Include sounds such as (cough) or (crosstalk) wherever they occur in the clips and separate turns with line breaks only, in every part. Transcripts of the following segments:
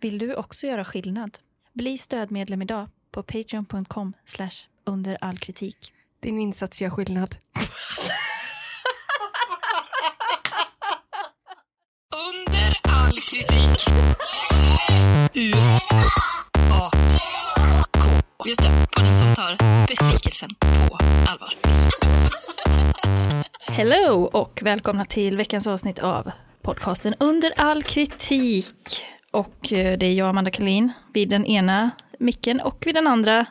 Vill du också göra skillnad? Bli stödmedlem idag på patreon.com under all kritik.
Din insats gör skillnad.
Under all kritik. U A K. Just det, podden som tar besvikelsen på allvar.
(laughs) Hello och välkomna till veckans avsnitt av podcasten Under all kritik. Och eh, det är jag, Amanda Kalin, vid den ena micken och vid den andra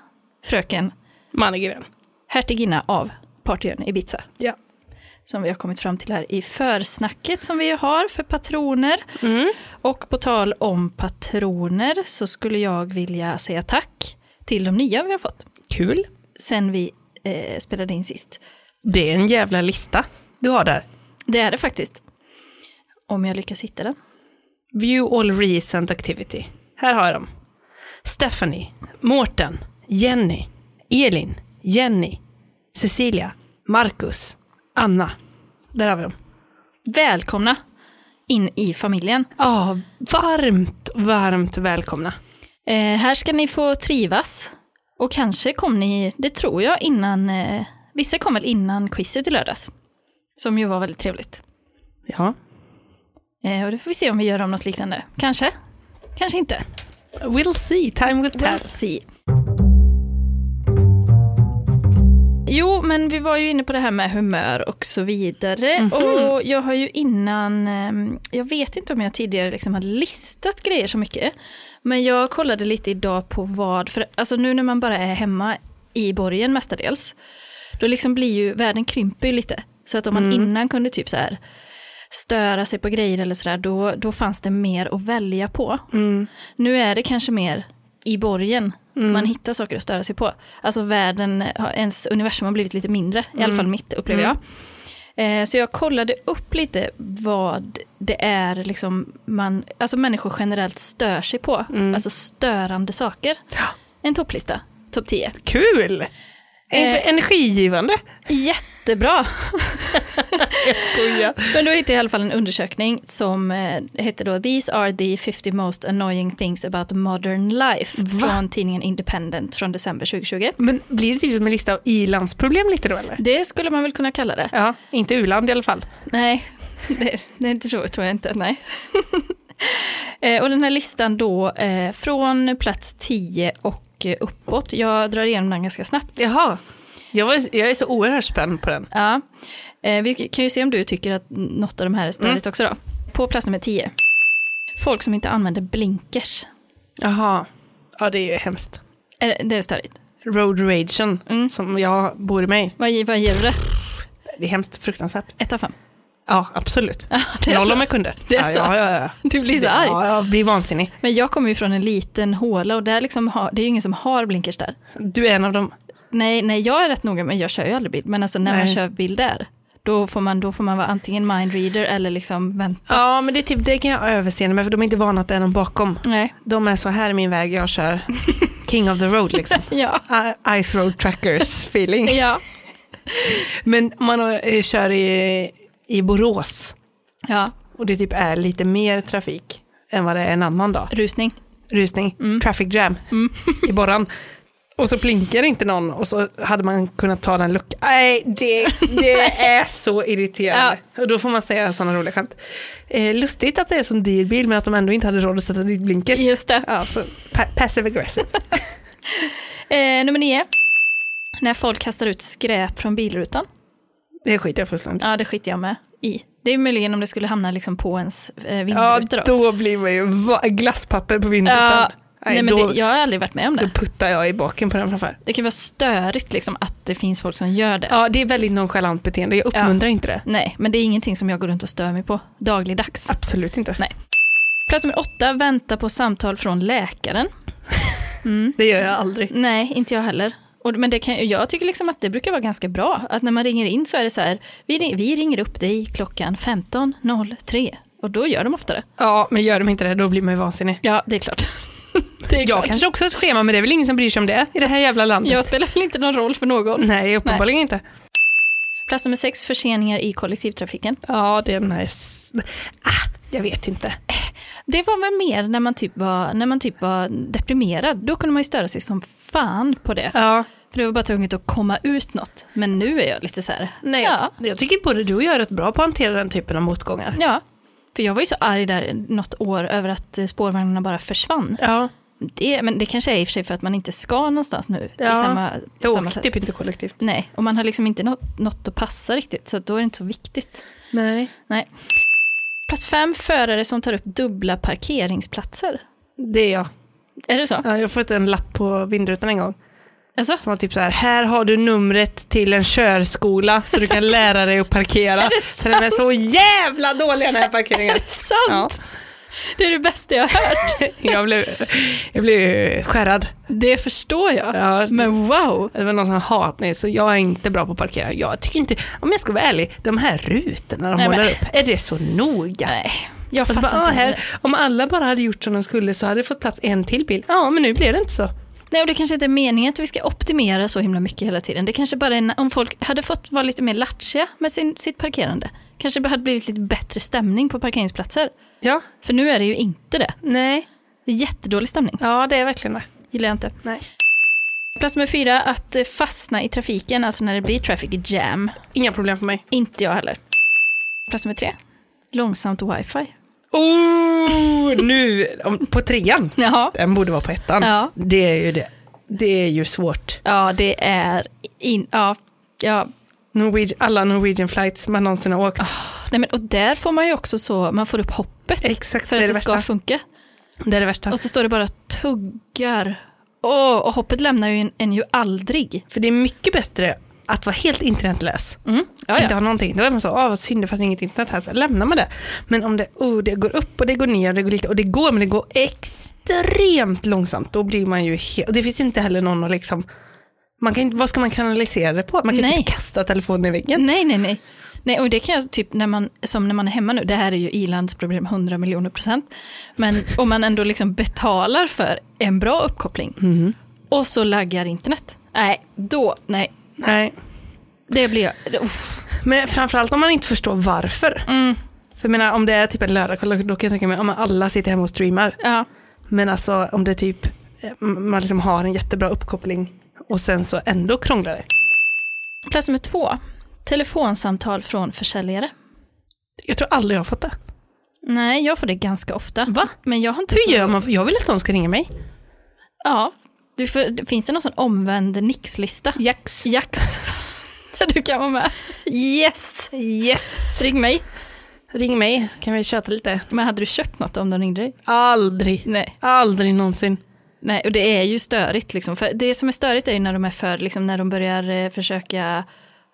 fröken
Mannegren.
hertiginna av partyn Ibiza.
Ja.
Som vi har kommit fram till här i försnacket som vi ju har för patroner.
Mm.
Och på tal om patroner så skulle jag vilja säga tack till de nya vi har fått
Kul.
sen vi eh, spelade in sist.
Det är en jävla lista du har där.
Det är det faktiskt. Om jag lyckas hitta den.
View all recent activity. Här har jag dem. Stephanie, Mårten, Jenny, Elin, Jenny, Cecilia, Marcus, Anna. Där har vi dem.
Välkomna in i familjen.
Ja, Ah, varmt, varmt välkomna.
Eh, här ska ni få trivas. Och kanske kom ni, det tror jag, innan, eh, vissa kom väl innan quizet i lördags. Som ju var väldigt trevligt.
Ja.
Eh, och det får vi se om vi gör om något liknande. Kanske, kanske inte.
We'll see, time will tell.
We'll see. Jo, men vi var ju inne på det här med humör och så vidare. Och jag har ju innan, ehm, jag vet inte om jag tidigare liksom har listat grejer så mycket. Men jag kollade lite idag på vad, för alltså nu när man bara är hemma i borgen mestadels, då liksom blir ju, världen krymper ju lite. Så att om man innan kunde typ så här störa sig på grejer eller sådär, då, då fanns det mer att välja på.
Mm.
Nu är det kanske mer i borgen man hittar saker att störa sig på. Alltså världen, har- ens universum har blivit lite mindre, i alla fall mitt upplever jag. Eh, Så jag kollade upp lite vad det är liksom man, alltså människor generellt stör sig på.
Mm.
Alltså störande saker. En topplista, topp 10.
Kul!
(laughs)
Eh. Energigivande.
Jättebra!
Skoja.
Men då hittade jag i alla fall en undersökning som eh, hette då These are the 50 most annoying things about modern life från tidningen Independent från december 2020.
Men blir det typ som en lista av i-landsproblem lite då eller?
Det skulle man väl kunna kalla det.
Ja, inte u-land i alla fall.
Nej, det, det är inte så, tror jag inte. Nej. (laughs) Eh, och den här listan då eh, från plats 10 och eh, uppåt. Jag drar igenom den ganska snabbt.
Jaha. Jag, var, jag är så oerhört spänd på den.
Ja. Eh, vi kan ju se om du tycker att något av de här är
Mm.
störigt också då. På plats nummer 10. Folk som inte använder blinkers.
Jaha. Ja, det är ju hemskt.
Är det- Det är störigt.
Road ragen, som jag bor i mig.
Vad, ge- vad ger du det?
Det är hemskt fruktansvärt.
Ett av fem. (laughs)
Ja, absolut.
det är
Noll
så.
om jag kunde.
Det är
ja,
så.
ja, ja, ja.
Du blir så arg.
Ja, jag blir vansinnig.
Men jag kommer ju från en liten håla och där liksom har, det är ju ingen som har blinkers där.
Du är en av dem.
Nej, nej, jag är rätt noga men jag kör ju aldrig bil. Men alltså när man
Nej.
kör bil där, då får man, då får man vara antingen mindreader eller liksom vänta.
Ja, men det, är typ, det kan jag ha överseende med, för de är inte vana att det är någon bakom.
Nej.
De är så här i min väg, jag (laughs) kör king of the road liksom.
Ja.
(laughs) I- Ice road trackers feeling.
Ja.
Men om man eh, kör i, i Borås
ja.
och det typ är lite mer trafik än vad det är en annan dag.
Rusning.
rusning,
Mm.
traffic jam (laughs) i borran. Och så blinkar inte någon och så hade man kunnat ta den luckan. Nej, det, det
(laughs)
är så irriterande. Och då får man säga sådana roliga skämt. Eh, lustigt att det är en sån dyr bil men att de ändå inte hade råd att sätta dit blinkers.
Just det.
Ja, så pa- passive aggressive.
Eh, nummer nio. När folk kastar ut skräp från bilrutan.
Det skiter jag fullständigt
Ja, det skiter jag med i. Det är möjligen om det skulle hamna liksom på ens eh, (laughs)
Ja,
vindruta då.
då blir man ju va- glasspapper på vindrutan.
Ja,
Nej,
nej, men
då,
det, jag har aldrig varit med om
då
det.
puttar jag i baken på den framför.
Det kan vara störigt liksom att det finns folk som gör det.
Ja, det är väldigt nonchalant beteende. Jag uppmuntrar inte det.
Nej, men det är ingenting som jag går runt och stör mig på dagligdags.
Absolut inte.
Nej. Plats nummer åtta, vänta på samtal från läkaren.
Det gör jag aldrig.
Nej, inte jag heller. Och, men det kan, jag tycker liksom att det brukar vara ganska bra. Att när man ringer in så är det så här, vi, ring- vi ringer upp dig klockan 15.03. Och då gör de oftare.
Ja, men gör de inte det då blir man ju vansinnig.
Ja, det är klart. (laughs) det är
Jag
klart.
kanske också har ett schema, men det är väl ingen som bryr sig om det i det här jävla landet.
Jag spelar väl inte någon roll för någon.
Nej, uppenbarligen inte.
Plats nummer sex, förseningar i kollektivtrafiken.
Ja, det är den här... s- Ah, jag vet inte.
Det var väl mer när man, typ var, när man typ var deprimerad. Då kunde man ju störa sig som fan på det.
Ja.
För det var bara tvunget att komma ut något. Men nu är jag lite så här,
Nej,
ja.
jag, jag tycker både du och jag är rätt bra på att hantera den typen av motgångar.
ja. För jag var ju så arg där något år över att eh, spårvagnarna bara försvann.
Ja.
Det, men det kanske är i och för sig för att man inte ska någonstans nu.
Ja.
I samma, på
Jag
samma
åker
sätt.
typ inte kollektivt.
Nej, och man har liksom inte något, något att passa riktigt så då är det inte så viktigt.
Nej.
Nej. Plats fem, förare som tar upp dubbla parkeringsplatser.
Det är jag.
Är det så?
Ja, jag har fått en lapp på vindrutan en gång.
Alltså?
Som var typ så här, här har du numret till en körskola så du kan lära dig att parkera.
(laughs) det
så den är så jävla dålig den här parkeringen.
Är det sant? Det är det bästa jag har hört.
Jag blev, jag blev skärrad.
Det förstår jag.
Ja.
Men wow.
Det var någon som hatade mig, så jag är inte bra på att parkera. Jag tycker inte, om jag ska vara ärlig, de här rutorna de
Nej, men-
håller upp, är det så noga?
Nej, jag
Och så
fattar
bara, ah,
inte.
här,
heller.
om alla bara hade gjort som de skulle så hade det fått plats en till bil. Ja, men nu blir det inte så.
Nej, och det kanske inte är meningen att vi ska optimera så himla mycket hela tiden. Det kanske bara är en- om folk hade fått vara lite mer lattjiga med sin, sitt parkerande. Kanske det hade blivit lite bättre stämning på parkeringsplatser.
Ja,
För nu är det ju inte det.
nej.
Det är jättedålig stämning.
Ja, det är verkligen det.
Gillar jag inte.
Nej.
Plats nummer fyra, att eh, fastna i trafiken, alltså när det blir traffic jam.
Inga problem för mig.
Inte jag heller. Plats nummer tre, långsamt wifi. (laughs)
Oh, nu om, på trean.
Ja.
Den borde vara på ettan.
Ja.
Det är ju det. Det är ju svårt.
Ja, det är in... Ja, ja.
Norwegian, alla Norwegian flights man någonsin har åkt.
Nej, men, och där får man ju också så, man får upp hoppet
Exakt,
för
det
att
är
det,
det
ska
värsta.
funka.
Det är det värsta.
Och så står det bara tuggar. Åh, och hoppet lämnar ju en, en ju aldrig.
För det är mycket bättre att vara helt internetlös.
Mm. Ja,
Inte
ja.
ha någonting. Då är man så, ah, vad synd det fanns inget internet här, så lämnar man det. Men om det, oh, det går upp och det går ner och det går lite, och det går men det går extremt långsamt, då blir man ju helt, och det finns inte heller någon att liksom, man kan, inte- vad ska man kanalisera det på? Man kan
Nej.
inte kasta telefonen i väggen.
Nej, nej, nej. Nej, och det kan jag typ när man, som när man är hemma nu, det här är ju Ilans problem 100 miljoner procent. (laughs) Men om man ändå liksom betalar för en bra uppkoppling och så laggar internet. Nej, då, nej,
Nej.
det blir jag, det, uff.
Men framförallt om man inte förstår varför. För jag menar, om det är typ en lördagkväll, då kan jag tänka mig om alla sitter hemma och streamar.
ja.
Men alltså om det typ, eh, man liksom har en jättebra uppkoppling och sen så ändå krånglar det.
Plats nummer två, telefonsamtal från försäljare.
Jag tror aldrig jag har fått det.
Nej, jag får det ganska ofta.
Va?
Men jag har inte så...
Hur gör man? Jag vill att någon ska ringa mig.
Ja. Du, för, finns det någon sån omvänd nixlista? Jax. Jax. (laughs) Där du kan vara med. Yes! Yes! Ring mig.
Ring mig, kan vi köta lite?
Men hade du köpt något om de ringde dig?
Aldrig.
Nej.
Aldrig någonsin.
Nej, och det är ju störigt liksom. För det som är störigt är ju när de är för, liksom när de börjar eh, försöka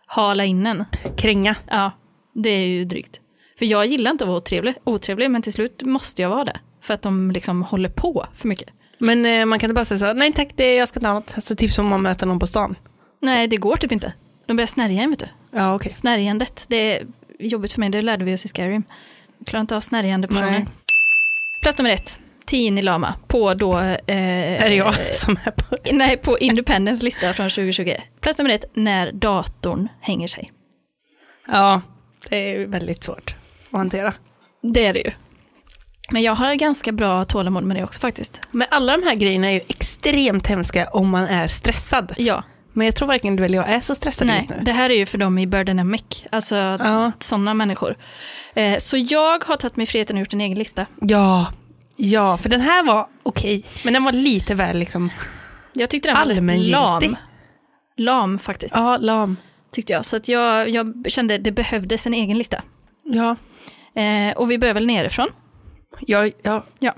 hala in en.
Kränga.
Ja, det är ju drygt. För jag gillar inte att vara otrevlig, otrevlig men till slut måste jag vara det. För att de liksom håller på för mycket.
Men eh, man kan inte bara säga så, nej tack, det, jag ska inte ha något. Alltså, typ som om man möter någon på stan.
Nej, det går typ inte. De börjar snärja en, vet du.
Ja, okej.
Snärjandet, det är jobbigt för mig, det lärde vi oss i Skyrim. Jag klarar inte av snärjande personer.
Nej.
Plats nummer ett, Tien i Lama, på då... Eh,
Är det jag som är på
Nej, på Independence lista från 2020. Plats nummer ett, när datorn hänger sig.
Ja, det är ju väldigt svårt att hantera.
Det är det ju. Men jag har ganska bra tålamod med det också faktiskt.
Men alla de här grejerna är ju extremt hemska om man är stressad.
Ja,
Men jag tror varken du eller jag är så stressad
nej,
just nu.
det här är ju för dem i Birdemic, alltså
Ja.
sådana människor. Eh, så jag har tagit mig friheten och gjort en egen lista.
Ja, ja, för den här var okej, men den var lite väl liksom,
Jag tyckte den var rätt
Allmängiltig.
lam. Lam faktiskt,
ja, lam.
tyckte jag. Så att jag, jag kände det behövdes en egen lista.
Ja,
Eh, och vi börjar väl nerifrån.
ja, ja.
Ja.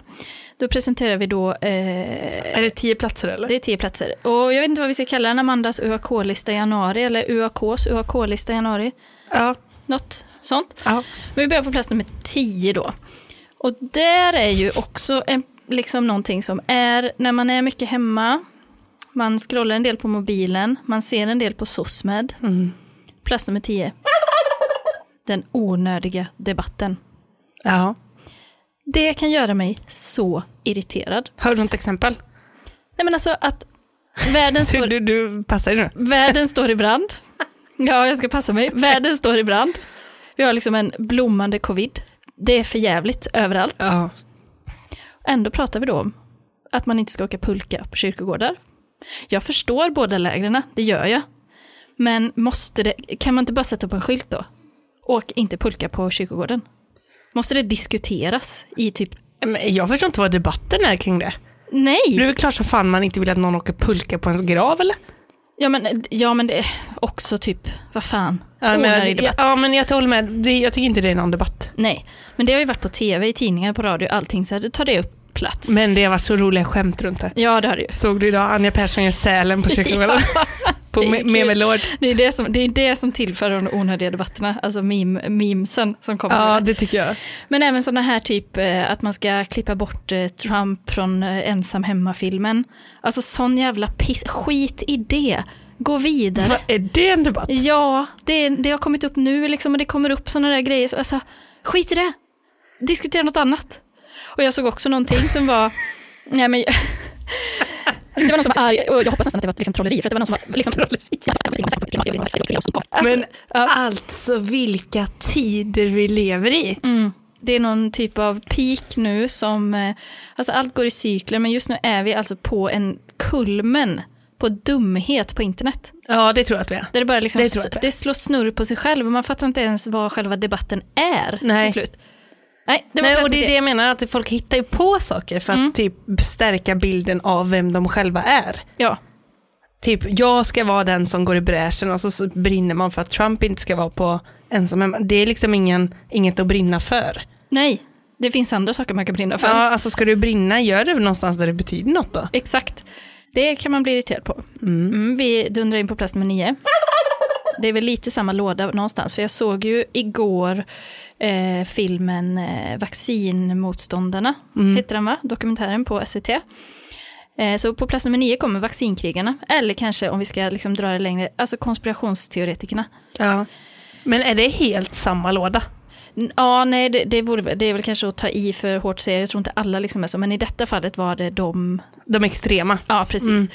Då presenterar vi då, eh,
Är det tio platser eller?
det är tio platser. Och jag vet inte vad vi ska kalla den, Amandas UAK-lista i januari eller UAKs UAK-lista i januari.
Ja.
Något sånt.
ja.
Men vi börjar på plats nummer tio då. Och där är ju också en, liksom någonting som är när man är mycket hemma, man scrollar en del på mobilen, man ser en del på SOSMED.
Mm.
Plats nummer tio. Den onödiga debatten.
ja.
Det kan göra mig så irriterad.
Har du något exempel?
Nej men alltså att världen står,
Du, du passar dig nu.
världen står i brand. Ja, jag ska passa mig. Världen står i brand. Vi har liksom en blommande covid. Det är för jävligt överallt.
Ja.
Ändå pratar vi då om att man inte ska åka pulka på kyrkogårdar. Jag förstår båda lägren, det gör jag. Men måste det, kan man inte bara sätta upp en skylt då? Åk inte pulka på kyrkogården. Måste det diskuteras i typ,
Men jag förstår inte vad debatten är kring det. Det är
nej!
väl klart som fan man inte vill att någon åker pulka på ens grav eller?
Ja men, ja, men det är också typ, vad fan,
Ja,
onödig
men,
debatt.
ja, men jag håller med, det, jag tycker inte det är någon debatt.
Nej, men det har ju varit på tv, i tidningar, på radio, allting, så här, då tar det upp plats.
Men det har varit så roliga skämt runt det.
ja, det
(laughs)
har det ju.
Såg du idag Anja Persson gör Sälen
(laughs)
på kyrkogården? på
det är
Me-
kul.
Memelord.
Det är det som, det är det som tillför de onödiga debatterna, alltså meme, memesen som kommer.
Ja, det tycker jag.
Men även sådana här typ eh, att man ska klippa bort eh, Trump från eh, ensam hemma-filmen. Alltså sån jävla piss, skit i det. Gå vidare.
Vad är det en debatt?
Ja, det, det har kommit upp nu liksom och det kommer upp sådana där grejer. Så, alltså, skit i det. Diskutera något annat. Och jag såg också någonting som var... nej men... Det var någon som var arg och jag hoppas nästan att det var liksom trolleri för att det var någon som var liksom... Alltså,
Men alltså vilka tider vi lever i.
Mm. Det är någon typ av peak nu som, eh, alltså allt går i cykler men just nu är vi alltså på en kulmen på dumhet på internet.
Ja, det tror jag att vi är.
Där det bara liksom,
Det
det,
tror jag att det är.
slår snurr på sig själv och man fattar inte ens vad själva debatten är
Nej.
till slut. Nej, det Mm. var
Nej, och
plötsligt
det är det jag menar, att folk hittar ju på saker för att typ stärka bilden av vem de själva är.
Ja,
Typ, jag ska vara den som går i bräschen och så, så brinner man för att Trump inte ska vara på ensam hemma. Det är liksom ingen, inget att brinna för.
nej, det finns andra saker man kan brinna för.
Ja, alltså ska du brinna, gör det någonstans där det betyder något då.
Exakt, det kan man bli irriterad på. Mm, vi dundrar in på plats nummer nio. Det är väl lite samma låda någonstans, för jag såg ju igår eh, filmen eh, Vaccinmotståndarna, heter den va? Dokumentären på SVT. Eh, så på plats nummer nio kommer vaccinkrigarna, eller kanske om vi ska liksom dra det längre, alltså konspirationsteoretikerna.
Ja. Men är det helt samma låda?
N- Ja, nej, det, det, vore, väl- det är väl kanske att ta i för hårt säga, jag tror inte alla liksom är så, men i detta fallet var det de
De extrema.
Ja, precis.
Mm.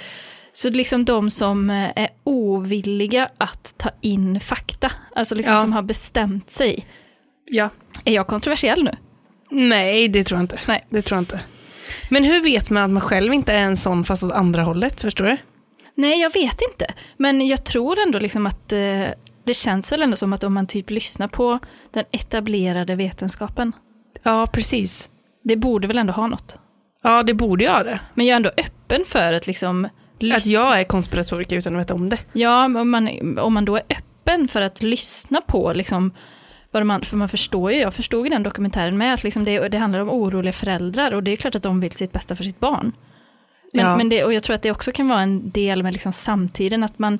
Så liksom de som eh, är ovilliga att ta in fakta, alltså liksom
Ja.
som har bestämt sig.
Ja.
Är jag kontroversiell nu?
Nej, det tror jag inte.
Nej.
Det tror jag inte. Men hur vet man att man själv inte är en sån fast åt andra hållet? Förstår du?
Nej, jag vet inte. Men jag tror ändå liksom att eh, det känns väl ändå som att om man typ lyssnar på den etablerade vetenskapen,
Ja, precis.
det borde väl ändå ha något.
Ja, det borde jag ha det.
Men jag är ändå öppen för att liksom lyssna.
Att jag är konspiratoriker utan att veta om det.
Ja, men om man, om man då är öppen för att lyssna på liksom, vad de andra, för man förstår ju, jag förstod ju den dokumentären med att liksom det, det handlar om oroliga föräldrar och det är klart att de vill sitt bästa för sitt barn. Men,
Ja.
men det, och jag tror att det också kan vara en del med liksom samtiden, att man,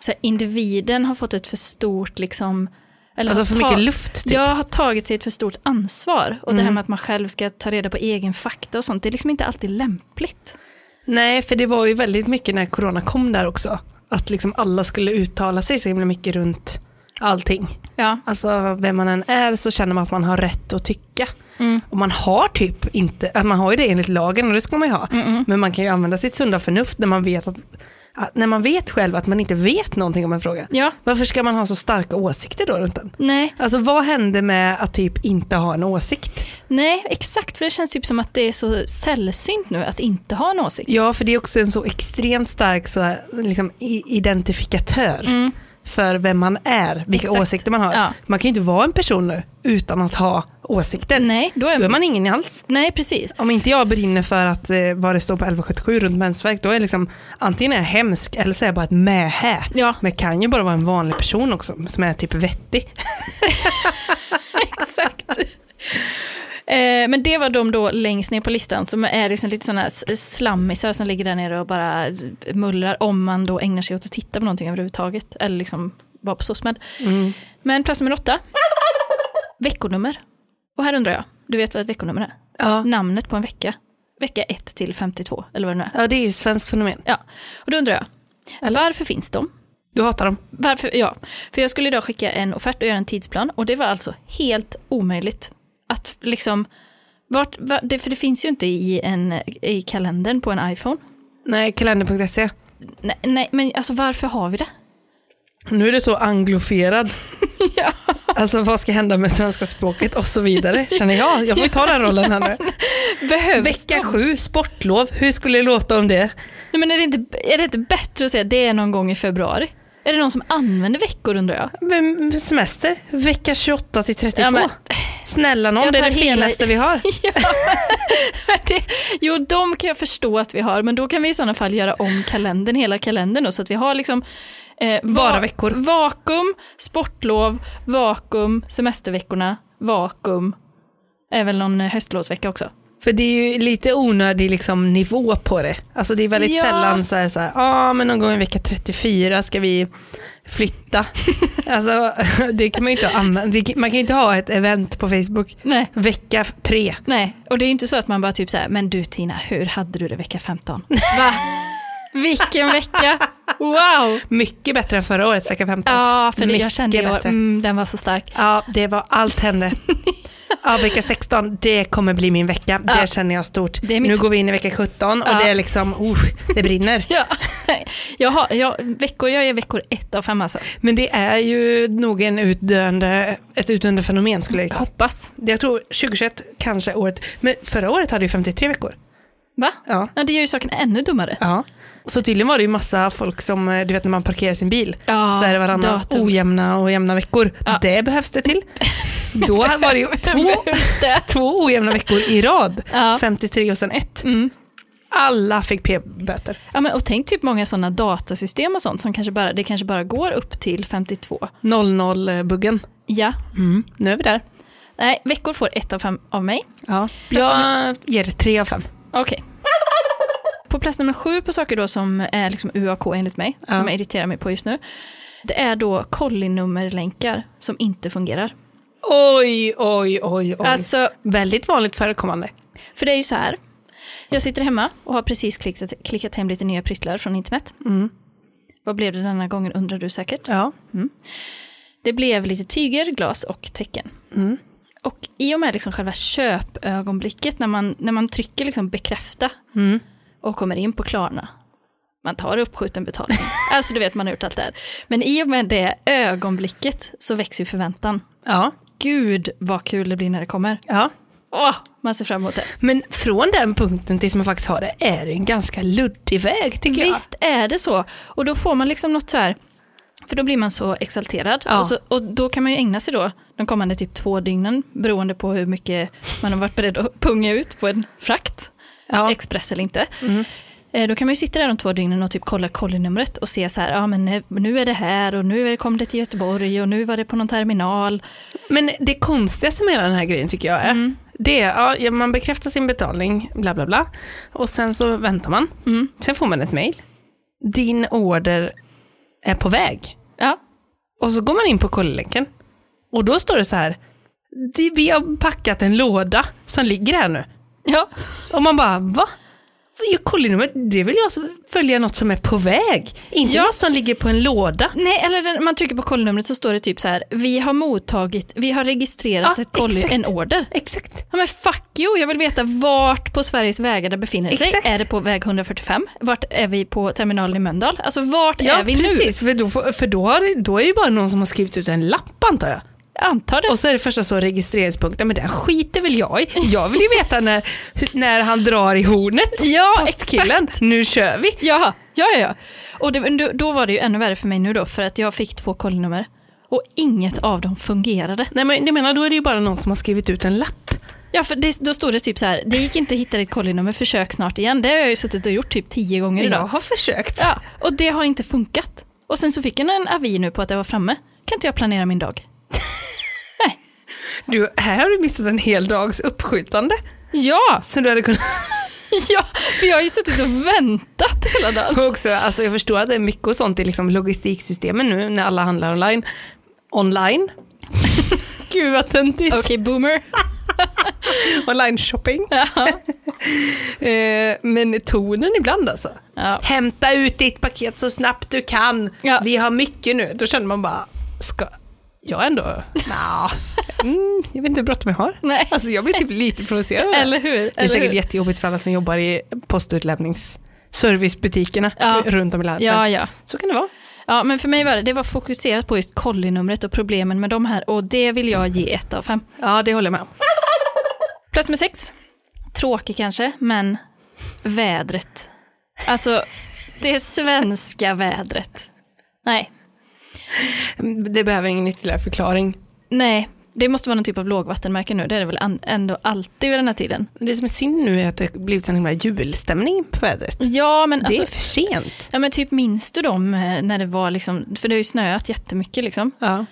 så här, individen har fått ett för stort, liksom, eller
Alltså
har
för
ta-
mycket luft typ. Mm.
Jag har tagit sig ett för stort ansvar och det här med att man själv ska ta reda på egen fakta och sånt, det är liksom inte alltid lämpligt.
Nej, för det var ju väldigt mycket när corona kom där också. Att liksom alla skulle uttala sig så himla mycket runt allting.
Ja,
Alltså vem man än är så känner man att man har rätt att tycka.
Mm.
Och man har typ inte, att man har ju det enligt lagen och det ska man ju ha. Men man kan ju använda sitt sunda förnuft när man vet, att, att, när man vet själv att man inte vet någonting om en fråga.
ja
Varför ska man ha så starka åsikter då runt den?
nej.
Alltså vad hände med att typ inte ha en åsikt?
Nej, exakt. För det känns typ som att det är så sällsynt nu att inte ha en åsikt.
Ja, för det är också en så extremt stark så här, liksom, i- identifikatör för vem man är, vilka
Mm. Exakt.
åsikter man har.
Ja.
Man kan ju inte vara en person nu utan att ha åsikter.
Nej, då är
Då är man ingen alls.
Nej, precis.
Om inte jag brinner för att eh, vad det står på 1177 runt mensvärk, då är jag liksom antingen är jag hemsk eller så är jag bara ett mähä.
Ja.
Men jag kan ju bara vara en vanlig person också som är typ vettig.
(laughs) exakt. Eh, men det var de då längst ner på listan som är liksom lite sådana slammisar som ligger där nere och bara mullrar om man då ägnar sig åt att titta på någonting överhuvudtaget eller liksom vara på SOSMED. Men plats nummer åtta, veckonummer. Och här undrar jag, du vet vad ett veckonummer är?
Ja.
Namnet på en vecka, vecka 1 till 52 eller vad det nu är.
ja, det är ju ett svenskt fenomen.
Ja, och då undrar jag, varför finns de?
Du hatar dem.
Varför? Ja, för jag skulle idag skicka en offert och göra en tidsplan och det var alltså helt omöjligt. Att liksom, vart, va, det, för det finns ju inte i, en, i kalendern på en iPhone.
Nej, kalender.se.
Nej, nej men alltså varför har vi det?
Nu är det så anglofierad.
(laughs) Ja.
Alltså vad ska hända med svenska språket och så vidare känner jag. Jag får ta den rollen här
(laughs)
nu.
Behövs
Vecka sju, sportlov. Hur skulle det låta om det?
Nej, men är, det inte, är det inte bättre att säga att det är någon gång i februari? Är det någon som använder veckor undrar jag?
Men Semester, vecka 28 till 32.
Ja, men-
Snälla någon,
Jag
det är det
tar hela-
finaste vi har.
Det, jo, de kan jag förstå att vi har, men då kan vi i sådana fall göra om kalendern, hela kalendern då, så att vi har liksom eh, va-
Bara veckor.
Vakuum, sportlov, vakuum, semesterveckorna, vakuum. Är väl någon eh, höstlovsvecka också.
För det är ju lite onödig liksom, nivå på det. Alltså det är väldigt
Ja.
sällan så här, så här ah, men någon gång i vecka 34 ska vi
(laughs)
flytta. alltså, (laughs) det kan man ju inte ha använt. Det kan- Man kan ju inte ha ett event på Facebook.
Nej,
Vecka f- tre.
nej. och det är ju inte så att man bara typ så här, men du Tina, hur hade du det vecka 15?
(laughs)
Va? Vilken vecka? Wow!
Mycket bättre än förra årets vecka 15.
Ja, för det, jag
Mycket
kände i år,
bättre.
mm, den var så stark.
Ja, det var
(laughs)
allt hände. Ja, vecka 16, det kommer bli min vecka.
Ja.
Det känner jag stort.
Det är mitt-
Nu går vi in i vecka 17 och
Ja.
det är liksom, oh, det brinner.
Ja, (laughs) jag, har, jag, veckor, jag är veckor ett av fem alltså.
Men det är ju nog en utdöende, ett utdöende fenomen skulle jag säga.
Hoppas.
Jag tror 2021 kanske året, men förra året hade ju 53 veckor.
Va?
Ja.
Ja, det gör ju saken ännu dummare.
ja. Så tydligen var det ju massa folk som, eh, du vet när man parkerar sin bil,
Ja,
så är det varannan
datum.
(laughs) ojämna och jämna veckor.
Ja.
Det behövs det (laughs) till. Då var det ju två,
Just det.
två ojämna veckor i rad,
Ja.
53 och sen ett. Alla fick p-böter.
Ja, men, och tänk typ många sådana datasystem och sånt som kanske bara, det kanske bara går upp till 52.
00-buggen.
Ja,
Nu är vi där.
nej, veckor får ett av fem av mig.
Ja. Jag ger det tre av fem.
Okej. På plats nummer sju på saker då som är liksom UAK enligt mig,
Ja.
som jag irriterar mig på just nu, det är då kollinummerlänkar som inte fungerar.
Oj, oj, oj, oj.
Alltså,
Väldigt vanligt förekommande.
För det är ju så här, jag sitter hemma och har precis klickat, klickat hem lite nya pryttlar från internet.
Mm.
Vad blev det denna gången undrar du säkert.
Ja.
Det blev lite tyger, glas och tecken.
Mm.
Och i och med liksom själva köpögonblicket när man, när man trycker liksom bekräfta och kommer in på Klarna, man tar uppskjuten betalning. (laughs) alltså du vet man har gjort allt det här. Men i och med det ögonblicket så växer ju förväntan.
ja.
Gud vad kul det blir när det kommer.
ja.
Åh, man ser fram emot det.
Men från den punkten tills man faktiskt har det är det en ganska luddig väg tycker
Visst är det så. Och då får man liksom något så här, för då blir man så exalterad.
Ja.
Och, så, och då kan man ju ägna sig då de kommande typ två dygnen, beroende på hur mycket man har varit beredd att punga ut på en frakt,
jag. Ja. Mm.
express eller inte. Eh, Då kan man ju sitta där de två dygnen och typ kolla kollinumret och se så här, ja men eh, nu är det här och nu är- kom det till Göteborg och nu var det på någon terminal.
Men det konstigaste med hela den här grejen tycker jag är,
Mm.
det är ja, man bekräftar sin betalning, bla bla bla, och sen så väntar man.
Mm.
Sen får man ett mejl. Din order är på väg.
Ja,
Och så går man in på kollelänken och då står det så här, "Det- vi har packat en låda som ligger här nu.
ja.
Och man bara, va? Jag kollar numret, det vill jag så- följa något som är på väg, inte
Ja.
något som ligger på en låda.
Nej, eller när man trycker på kollinumret så står det typ så här, vi har mottagit, vi har registrerat
Ja,
ett kolli,
exakt.
en order.
Exakt.
Ja, men fuck you, jag vill veta vart på Sveriges vägar det befinner sig.
Exakt.
Är det på väg 145? Vart är vi på terminalen i Mölndal? Alltså vart
Ja,
är vi nu?
precis. För, då, får- för då, har, det- då är det bara någon som har skrivit ut en lapp antar jag.
Antar det.
Och så är det första så registreringspunkten, men den skiter väl jag i. Jag vill ju veta när, när han drar i hornet.
Ja,
Postkillen, nu kör vi.
Ja, ja, ja, ja. Och det, då- då var det ju ännu värre för mig nu då, för att jag fick två kollinummer och inget av dem fungerade.
Nej men jag menar, då är det ju bara någon som har skrivit ut en lapp.
Ja, för det, då stod det typ så här, det gick inte att hitta ditt kollinummer, försök snart igen. Det har jag ju suttit och gjort typ tio gånger idag.
Jag har försökt.
Ja, och det har inte funkat. Och sen så fick jag en avi nu på att jag var framme. Kan inte jag planera min dag?
Du, här har du missat en hel dags uppskjutande.
Ja,
Sen du hade kunnat (laughs)
(laughs) ja, för jag har ju suttit och väntat hela dagen.
Och Också, alltså jag förstår att det är mycket och sånt i liksom logistiksystemen nu när alla handlar online. Online. (laughs) Gud vad töntigt.
Okej, boomer.
Online shopping.
Ja.
(laughs) Eh, men tonen ibland alltså.
Ja.
Hämta ut ditt paket så snabbt du kan.
Ja.
Vi har mycket nu. Då känner man bara, ska jag ändå? Nja, mm, jag vet inte hur bråttom jag har.
Nej.
Alltså jag blir typ lite provocerad.
Eller hur?
det är
Eller
säkert
hur?
jättejobbigt för alla som jobbar i postutlämningsservicebutikerna
Ja.
runt om i landet.
Ja, ja.
Så kan det vara.
Ja, men för mig var det, det var fokuserat på just kollinumret och problemen med de här och det vill jag ge ett av fem.
Ja, det håller jag med om.
Plats nummer sex. Tråkig kanske, men vädret. Alltså, det svenska vädret. Nej,
Det behöver ingen ytterligare förklaring.
nej, det måste vara någon typ av lågvattenmärke nu. Det är det väl an- ändå alltid vid den här tiden.
Det som är synd nu är att det har blivit en himla julstämning på vädret.
Ja, men
det
alltså,
är för sent.
ja, men typ minns du dem eh, när det var liksom, för det har ju snöat jättemycket liksom.
Ja.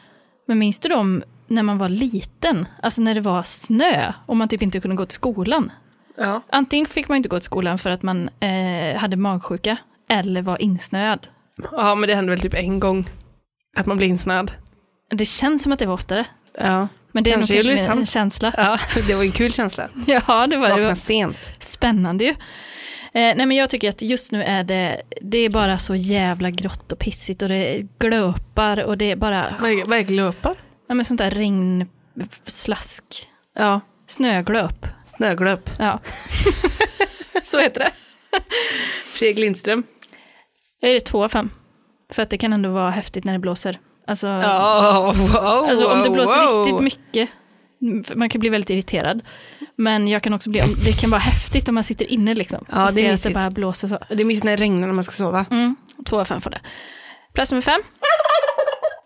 Men minns du dem när man var liten? Alltså när det var snö och man typ inte kunde gå till skolan.
Ja.
Antingen fick man inte gå till skolan för att man eh, hade magsjuka eller var insnöad.
ja, men det hände väl typ en gång. Att man blir insnöad.
Det känns som att det var oftare.
Ja.
Men det är nog
Kanske i
kanske mer
Ulricehamn.
en känsla.
ja, (laughs) det var en kul känsla.
(laughs) Ja, det var det. det.
Vakna
Var
sent.
spännande ju. Eh, nej, men jag tycker att just nu är det, det är bara så jävla grått och pissigt och det glöpar och det är bara
Vad är, vad är glöpar?
ja, men sånt där regnslask.
Ja, (laughs)
Snöglöp.
snöglöp.
Ja. så heter det.
Fredrik Lindström.
Jag ger det två av fem. För att det kan ändå vara häftigt när det blåser. Alltså,
Ja, wow,
alltså om det blåser
wow.
riktigt mycket, mm, för man kan bli väldigt irriterad. Men jag kan också bli, om- det kan vara häftigt om man sitter inne liksom.
Ja,
och
det
ser
är
att det
mysigt.
bara blåser så.
Det är mysigt när det regnar när man ska sova.
Mm, två av fem får det. Plats nummer fem.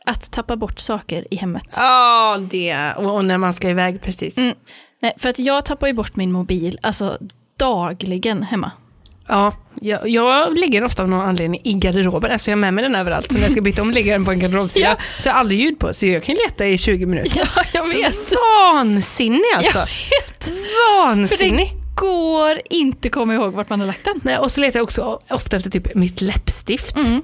Att tappa bort saker i hemmet.
Ja, det. Och, och när man ska iväg precis.
Mm. Nej, för att jag tappar ju bort min mobil, alltså dagligen
(laughs)
hemma.
Ja, jag, jag lägger den ofta av någon anledning i garderoben. Alltså jag har med mig den överallt. Så när jag ska byta om lägger jag den på en garderobsida. (laughs)
Ja.
Så jag har aldrig ljud på. Så jag kan ju leta i 20 minuter.
Ja, jag vet.
Vansinnig alltså.
Jag vet. För
Vansinnig.
det går inte komma ihåg vart man har lagt den.
Nej, och så letar jag också ofta efter typ mitt läppstift.
Mm.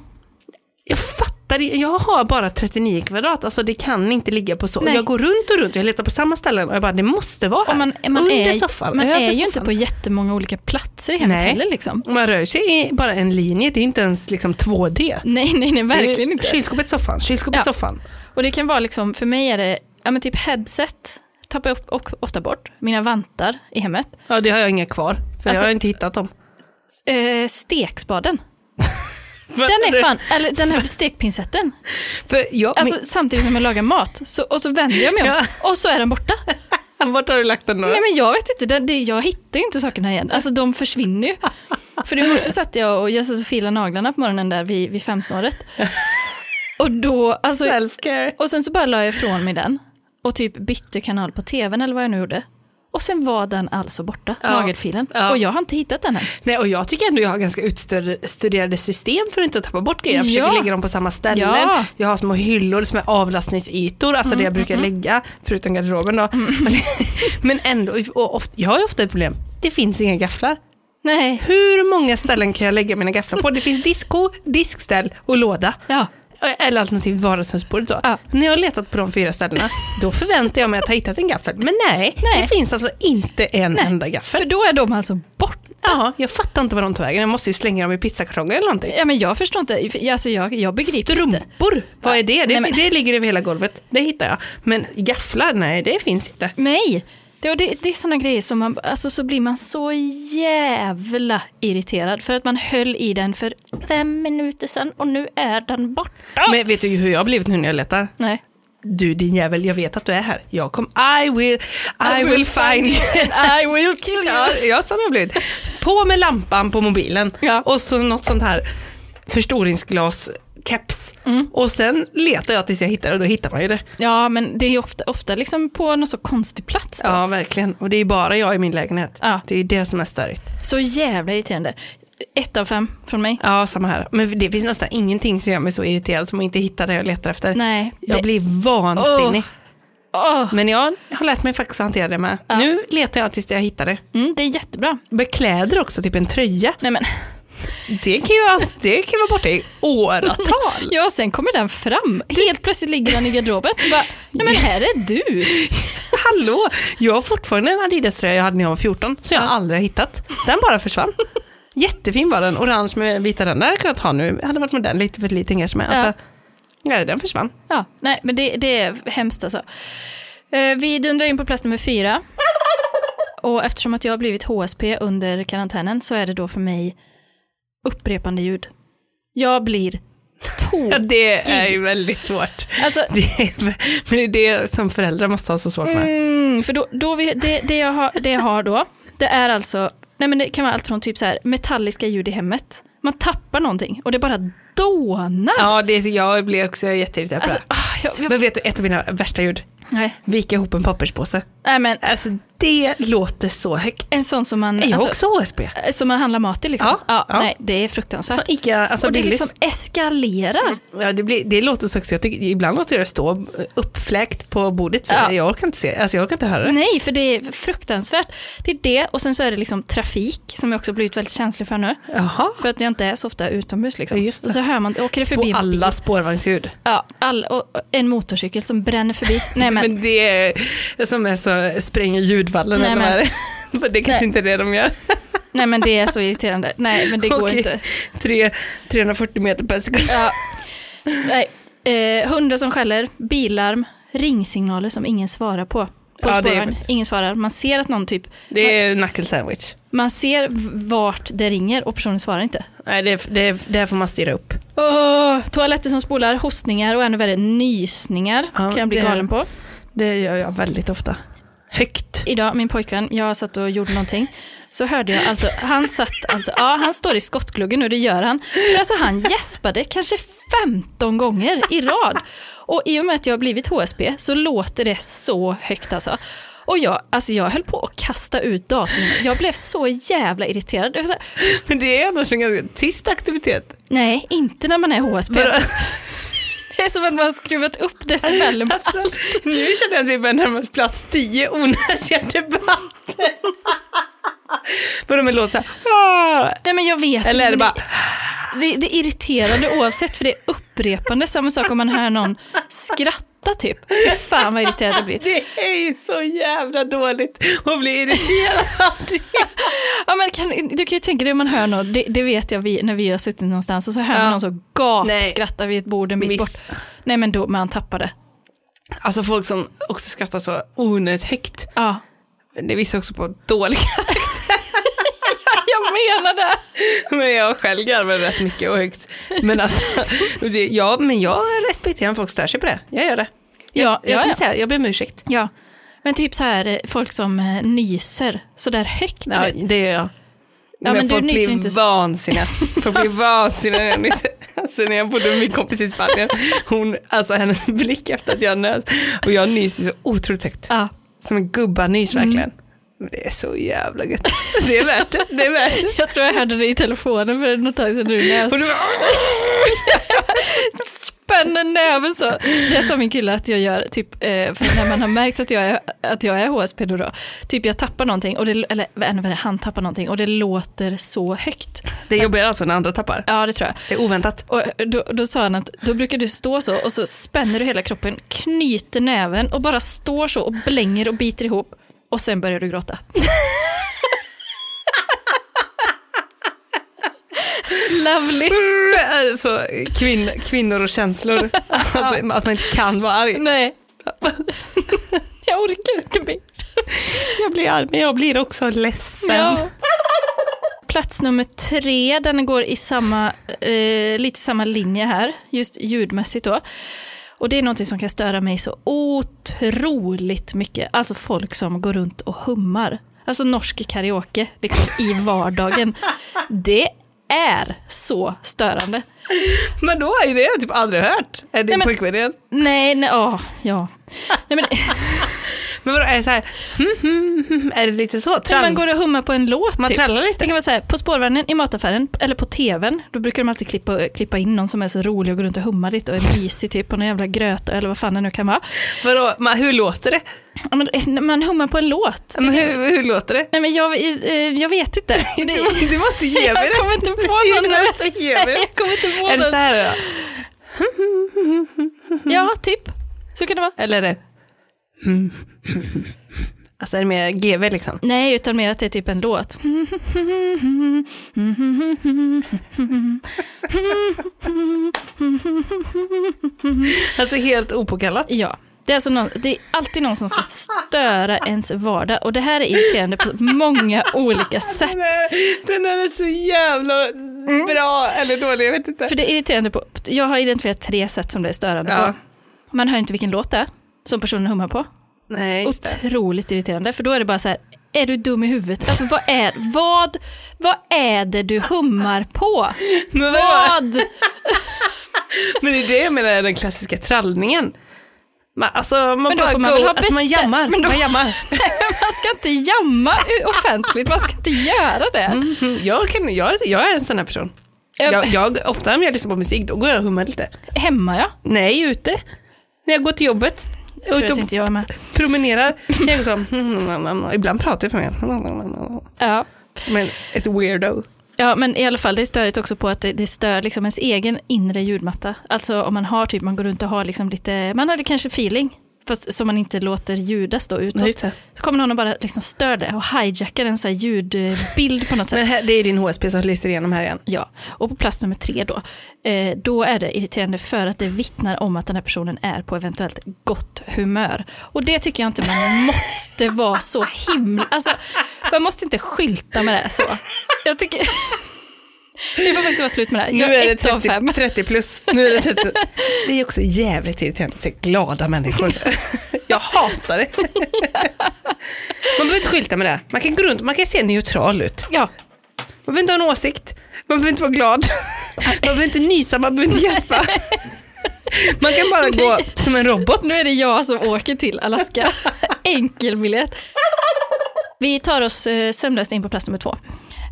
Jag fattar det. Jag har bara 39 kvadrat. Alltså det kan inte ligga på så.
Nej.
Jag går runt och runt. Jag letar på samma ställen och jag bara det måste vara här.
Och man, man
Under
är,
soffan.
Man
över
är ju
soffan.
inte på jättemånga olika platser i hemmet
Nej.
heller. Liksom.
Och Man rör sig i bara en linje. Det är inte ens liksom 2D.
Nej, nej, nej, verkligen
Det är
inte.
Kylskåpet, soffan, kylskåpet,
Ja.
soffan.
Och det kan vara liksom, för mig är det, ja men typ headset tappar jag of- och- ofta bort, mina vantar i hemmet,
Ja, det har jag inga kvar.
Alltså-
För jag har inte hittat dem.
eh, stekspaden. Den är fan, eller den här stekpinsetten.
För jag,
Alltså samtidigt som jag lagar mat så, och så vänder jag mig om och så är den borta.
men, vart har du lagt den då?
Nej men jag vet inte, den, det, jag hittar ju inte sakerna igen. Alltså de försvinner ju. För i morse satt jag och jag satt och filade naglarna på morgonen där vid, vid femsnåret. Och då, alltså
Self-care.
Och sen så bara la jag ifrån mig den och typ bytte kanal på tvn eller vad jag nu gjorde. Och sen var den alltså borta,
Ja.
nagelfilen.
Ja.
Och jag har inte hittat den än.
Nej, och jag tycker ändå jag har ganska utstuderade system för att inte tappa bort grejer. Jag försöker
Ja.
lägga dem på samma ställen.
Ja. Mm,
Jag har små hyllor som är avlastningsytor, alltså det jag brukar lägga, förutom garderoben då. Men (laughs) ändå, och ofta, jag har ju ofta ett problem. Det finns inga gafflar.
Nej.
Hur många ställen kan jag lägga mina gafflar på? Det finns disko, diskställ och låda.
Ja.
Eller alternativt vardagsrumsbordet då.
Ja.
När jag har letat på de fyra ställena, då förväntar jag mig att ha hittat en gaffel. Men nej,
Nej.
det finns alltså inte en
Nej.
enda gaffel.
För då är de alltså borta.
Ja, jag fattar inte vad de tar vägen. Jag måste ju slänga dem i pizzakartonger eller någonting.
Ja men jag förstår inte, För- alltså jag, jag begriper inte.
Strumpor, vad är det? Det,
Nej, men-
det ligger över hela golvet. Det hittar jag. Men gafflar, nej det finns inte.
Nej, det, och det, det är sådana grejer som man, alltså så blir man så jävla irriterad för att man höll i den för fem minuter sedan och nu är den borta.
Men vet du hur jag har blivit nu när jag letar?
Nej.
Du din jävel, jag vet att du är här. Jag kom, I will, I, will, find you.
and I will kill you.
Ja, ja, sån har jag blivit. På med lampan på mobilen
Ja.
och så något sånt här förstoringsglas keps.
Mm.
Och sen letar jag tills jag hittar det och då hittar man ju det.
Ja, men det är ju ofta, ofta liksom på någon så konstig plats. Då.
Ja, verkligen. Och det är ju bara jag i min lägenhet.
Ja.
Det är det som är störigt.
Så jävla irriterande. Ett av fem från mig.
Ja, samma här. Men det finns nästan ingenting som gör mig så irriterad som att inte hitta det jag letar efter.
Nej.
Jag
det-
blir vansinnig.
Åh.
Men jag har lärt mig faktiskt att hantera det med. Nu letar jag tills jag hittar det.
Mm, det är jättebra.
Bekläder också, typ en tröja.
Nej, men. (laughs)
Det kan ju vara, det kan ju vara borta i
(laughs)
åratal.
Ja, och sen kommer den fram. Helt plötsligt ligger den i garderoben. Bara, Nej, men här är du.
Hallå! Jag har fortfarande en Adidas-tröja jag hade när jag var 14 som jag aldrig har hittat. Den bara försvann. Jättefin var den, orange med vita ränder. Den kan jag ta nu. Jag hade varit med den lite för ett litet engagement.
Ja.
Alltså, nej, den försvann.
Ja, nej, men det, det är hemskt alltså. Eh, Vi dundrar in på plats nummer fyra. Och eftersom att jag har blivit HSP under karantänen så är det då för mig upprepande ljud. Jag blir
(laughs)
tokig.
det är ju väldigt svårt.
Alltså,
Det är, men det är det som föräldrar måste ha så svårt med.
Mm, för då, då vi, det, det, jag har, det jag har då, det är alltså, nej men det kan vara allt från typ så här metalliska ljud i hemmet. Man tappar någonting och det bara dånar.
Ja, det, jag blir också jätteirriterad på
Alltså,
det.
ah, jag, jag,
Men vet du, ett av mina värsta ljud,
nej,
vika ihop en papperspåse.
nej men eh,
Alltså det låter så högt.
en sån som man,
Jag har
alltså,
också HSB.
som man handlar mat i liksom.
Ja, ja.
Nej, det är fruktansvärt.
Från Ica, alltså
och det
Billys.
liksom eskalerar.
Ja, det, blir, det låter så högt, så jag tycker, ibland låter jag det stå uppfläkt på bordet. För
Ja. Mm.
Jag orkar inte se, alltså jag orkar inte höra det.
Nej, för det är fruktansvärt. Det är det och sen så är det liksom trafik som jag också blivit väldigt känslig för nu.
Jaha.
För att jag inte är så ofta utomhus liksom.
Ja, just det.
Och så hör man, åker det förbi
På
en
alla spårvagnsljud.
Ja, all, och och en motorcykel som bränner förbi. Nej men,
(laughs) Men det är som är så spränger ljudvallen
Nej,
eller vad
men-
är det? För det (laughs) är kanske
Nej.
inte är det de gör.
nej, men det är så irriterande. Nej men det går
Okej.
inte.
Tre- 340 meter per sekund.
Ja. Nej. Eh, hundar som skäller, bilarm, ringsignaler som ingen svarar på. På
Ja, det är
spårvagn.
jobbigt.
Ingen svarar. Man ser att någon typ,
Det är knuckle sandwich.
man ser v- vart det ringer och personen svarar inte.
Nej, det, är- det, är- det här får man styra upp.
Åh, toaletter som spolar, hostningar och ännu värre nysningar
Ja,
kan jag bli
det-
galen på.
Det gör jag väldigt ofta. Högt.
idag, min pojkvän, jag satt och gjorde någonting. Så hörde jag, alltså, han satt, alltså, ja han står i skottgluggen nu, det gör han. Men alltså han gäspade kanske 15 gånger i rad. Och i och med att jag har blivit HSB så låter det så högt alltså. Och jag, alltså jag höll på att kasta ut datorn. Jag blev så jävla irriterad. Det var så här,
Men det är annars en ganska tyst aktivitet.
Nej, inte när man är HSB. Det är som att man har skruvat upp decibelen. på-
Alltså, nu känner jag att vi börjar närma oss plats 10 onödiga debatter. Börjar med låt så här. (laughs) "Ah",
Nej men jag vet
Eller är det
men
bara,
Det, det är irriterande oavsett för det är upprepande. Samma sak om man hör någon skratta typ. Fy fan vad irriterad jag blir.
det är ju så jävla dåligt och blir irriterad.
Ja, men kan, du kan ju tänka dig om man hör någon, det, det vet jag vi, när vi har suttit någonstans och så hör man
Ja.
någon så gapskrattar vid ett bord en bit
Miss.
bort. Nej men då, man tappade.
Alltså folk som också skrattar så onödigt högt.
Ja, (laughs)
Det visar också på dåliga.
jag menar det.
(laughs) Men jag själv garvar rätt mycket och högt. Men alltså, det, ja, men jag respekterar om folk stör sig på det. Jag gör det. Jag,
Ja,
jag,
ja,
kan
ja.
Säga, jag ber om ursäkt.
Ja, men typ så här eh, folk som eh, nyser så där högt.
Ja,
vet.
det gör jag.
men du
folk
nyser
blir
inte så-
vansinniga.
(laughs)
Folk blir vansinniga när jag nyser. Alltså när jag bodde med min kompis i Spanien, hon, alltså hennes blick efter att jag nös. Och jag nyser så otroligt högt.
Ja. Mm.
Som en gubbanys verkligen. Men Det är så jävla gött. Det är värt det. Det är värt det.
Jag tror jag hörde det i telefonen för något tag sedan nu när jag
Och du bara,
spänner näven så. Det sa min kille att jag gör, typ, eh, för när man har märkt att jag är, att jag är HSP då, då, typ jag tappar någonting, och det, eller ännu värre, han tappar någonting och det låter så högt.
det är jobbigare alltså när andra tappar.
Ja, det tror jag.
Det är oväntat.
Och då, då sa han att då brukar du stå så och så spänner du hela kroppen, knyter näven och bara står så och blänger och biter ihop och sen börjar du gråta. Lovely.
Alltså, kvinn, kvinnor och (laughs) känslor. Alltså, att man inte kan vara arg.
Nej. (laughs) Jag orkar inte mer.
Jag blir arg, men jag blir också ledsen.
Ja. (laughs) Plats nummer tre, den går i samma, eh, lite samma linje här, just ljudmässigt då. Och det är någonting som kan störa mig så otroligt mycket. Alltså folk som går runt och hummar. Alltså norsk karaoke, liksom i
(laughs)
vardagen. Det är så störande.
Men då är det jag typ aldrig hört. Är det
Nej, men-
pojkvän igen?
Nej, nej, åh, ja. Nej, men,
Men vadå, är det så här, hmm, hmm, hmm, är det lite så?
när
Trall,
man går och hummar på en låt
man
typ.
trallar
Det
lite?
kan vara så här, på spårvagnen, i mataffären eller på tvn, då brukar de alltid klippa, klippa in någon som är så rolig och går runt och hummar lite och är mysig typ på någon jävla gröt eller vad fan det nu kan vara.
Vadå, man, hur låter det?
Ja, Men, eh, man hummar på en låt.
Men hur, hur låter det?
Nej men jag, eh, jag vet (laughs) inte.
Du
Det,
måste, du måste ge mig
(laughs) jag
det.
kommer inte på
(laughs) Du
någon.
måste ge mig det. (laughs)
Jag kommer inte på
Är det så
någon.
här då?
Ja, typ. Så kan det vara.
Eller är det... hmm, (laughs) Alltså är det mer GV liksom?
Nej, utan mer att det är typ en låt. (laughs)
Alltså helt opåkallat?
Ja. Det är, alltså någon, det är alltid någon som ska störa ens vardag och det här är irriterande på många olika sätt.
Den är, den är så jävla
Mm.
bra eller dålig, jag vet inte.
För det är irriterande på, jag har identifierat tre sätt som det är störande
Ja.
på. Man hör inte vilken låt det är som personen hummar på.
Nej, just det.
Otroligt irriterande, för då är det bara så här, är du dum i huvudet? Alltså vad är, vad, vad är det du hummar på?
Men, vadå? (laughs)
Vad?
men det är det jag menar, den klassiska trallningen. Man, alltså man
Men då
bara
får man
go,
väl ha
alltså, man
bestä-
jammar.
men då-
Man jammar.
(laughs) Man ska inte jamma u- offentligt, man ska inte göra det.
Mhm, Jag, kan, jag, jag är en sån här person. Jag, jag, ofta när jag lyssnar på musik då går jag och hummar lite.
Hemma ja,
Nej, ute. När jag går till jobbet. Jag är
tror
ute
jag
och
inte jag är med. (laughs)
promenerar. Jag går så, (laughs) ibland pratar jag för mig.
Ja.
Som en, ett weirdo.
Ja, men i alla fall, det är störigt också på att det, det stör liksom ens egen inre ljudmatta. Alltså om man har typ, man går runt och har liksom lite, man har det kanske feeling, fast som man inte låter ljudas då utåt. Så kommer någon och bara liksom stör det och hijackar en sån här ljudbild på något sätt.
Men här, det är din HSP som lyser igenom här igen.
Ja, och på plats nummer tre då, eh, då är det irriterande för att det vittnar om att den här personen är på eventuellt gott humör. Och det tycker jag inte man måste vara så himla, alltså man måste inte skylta med det här så. Jag tycker, (laughs) det får faktiskt vara slut med det här. Jag är ett av fem.
30 plus. Nu är det,
(laughs)
30. det är också jävligt irriterande att se
(laughs)
glada människor. Jag hatar det. Man behöver inte skylta med det. Man kan gå runt, man kan se neutral ut.
Ja,
Man behöver inte ha en åsikt, man behöver inte
(laughs)
vara glad, man behöver inte nysa, man behöver inte gäspa. Man kan bara gå som en robot.
nu är det jag som åker till (laughs) Alaska. Enkelbiljett. Vi tar oss eh, sömnlöst in på plats nummer två.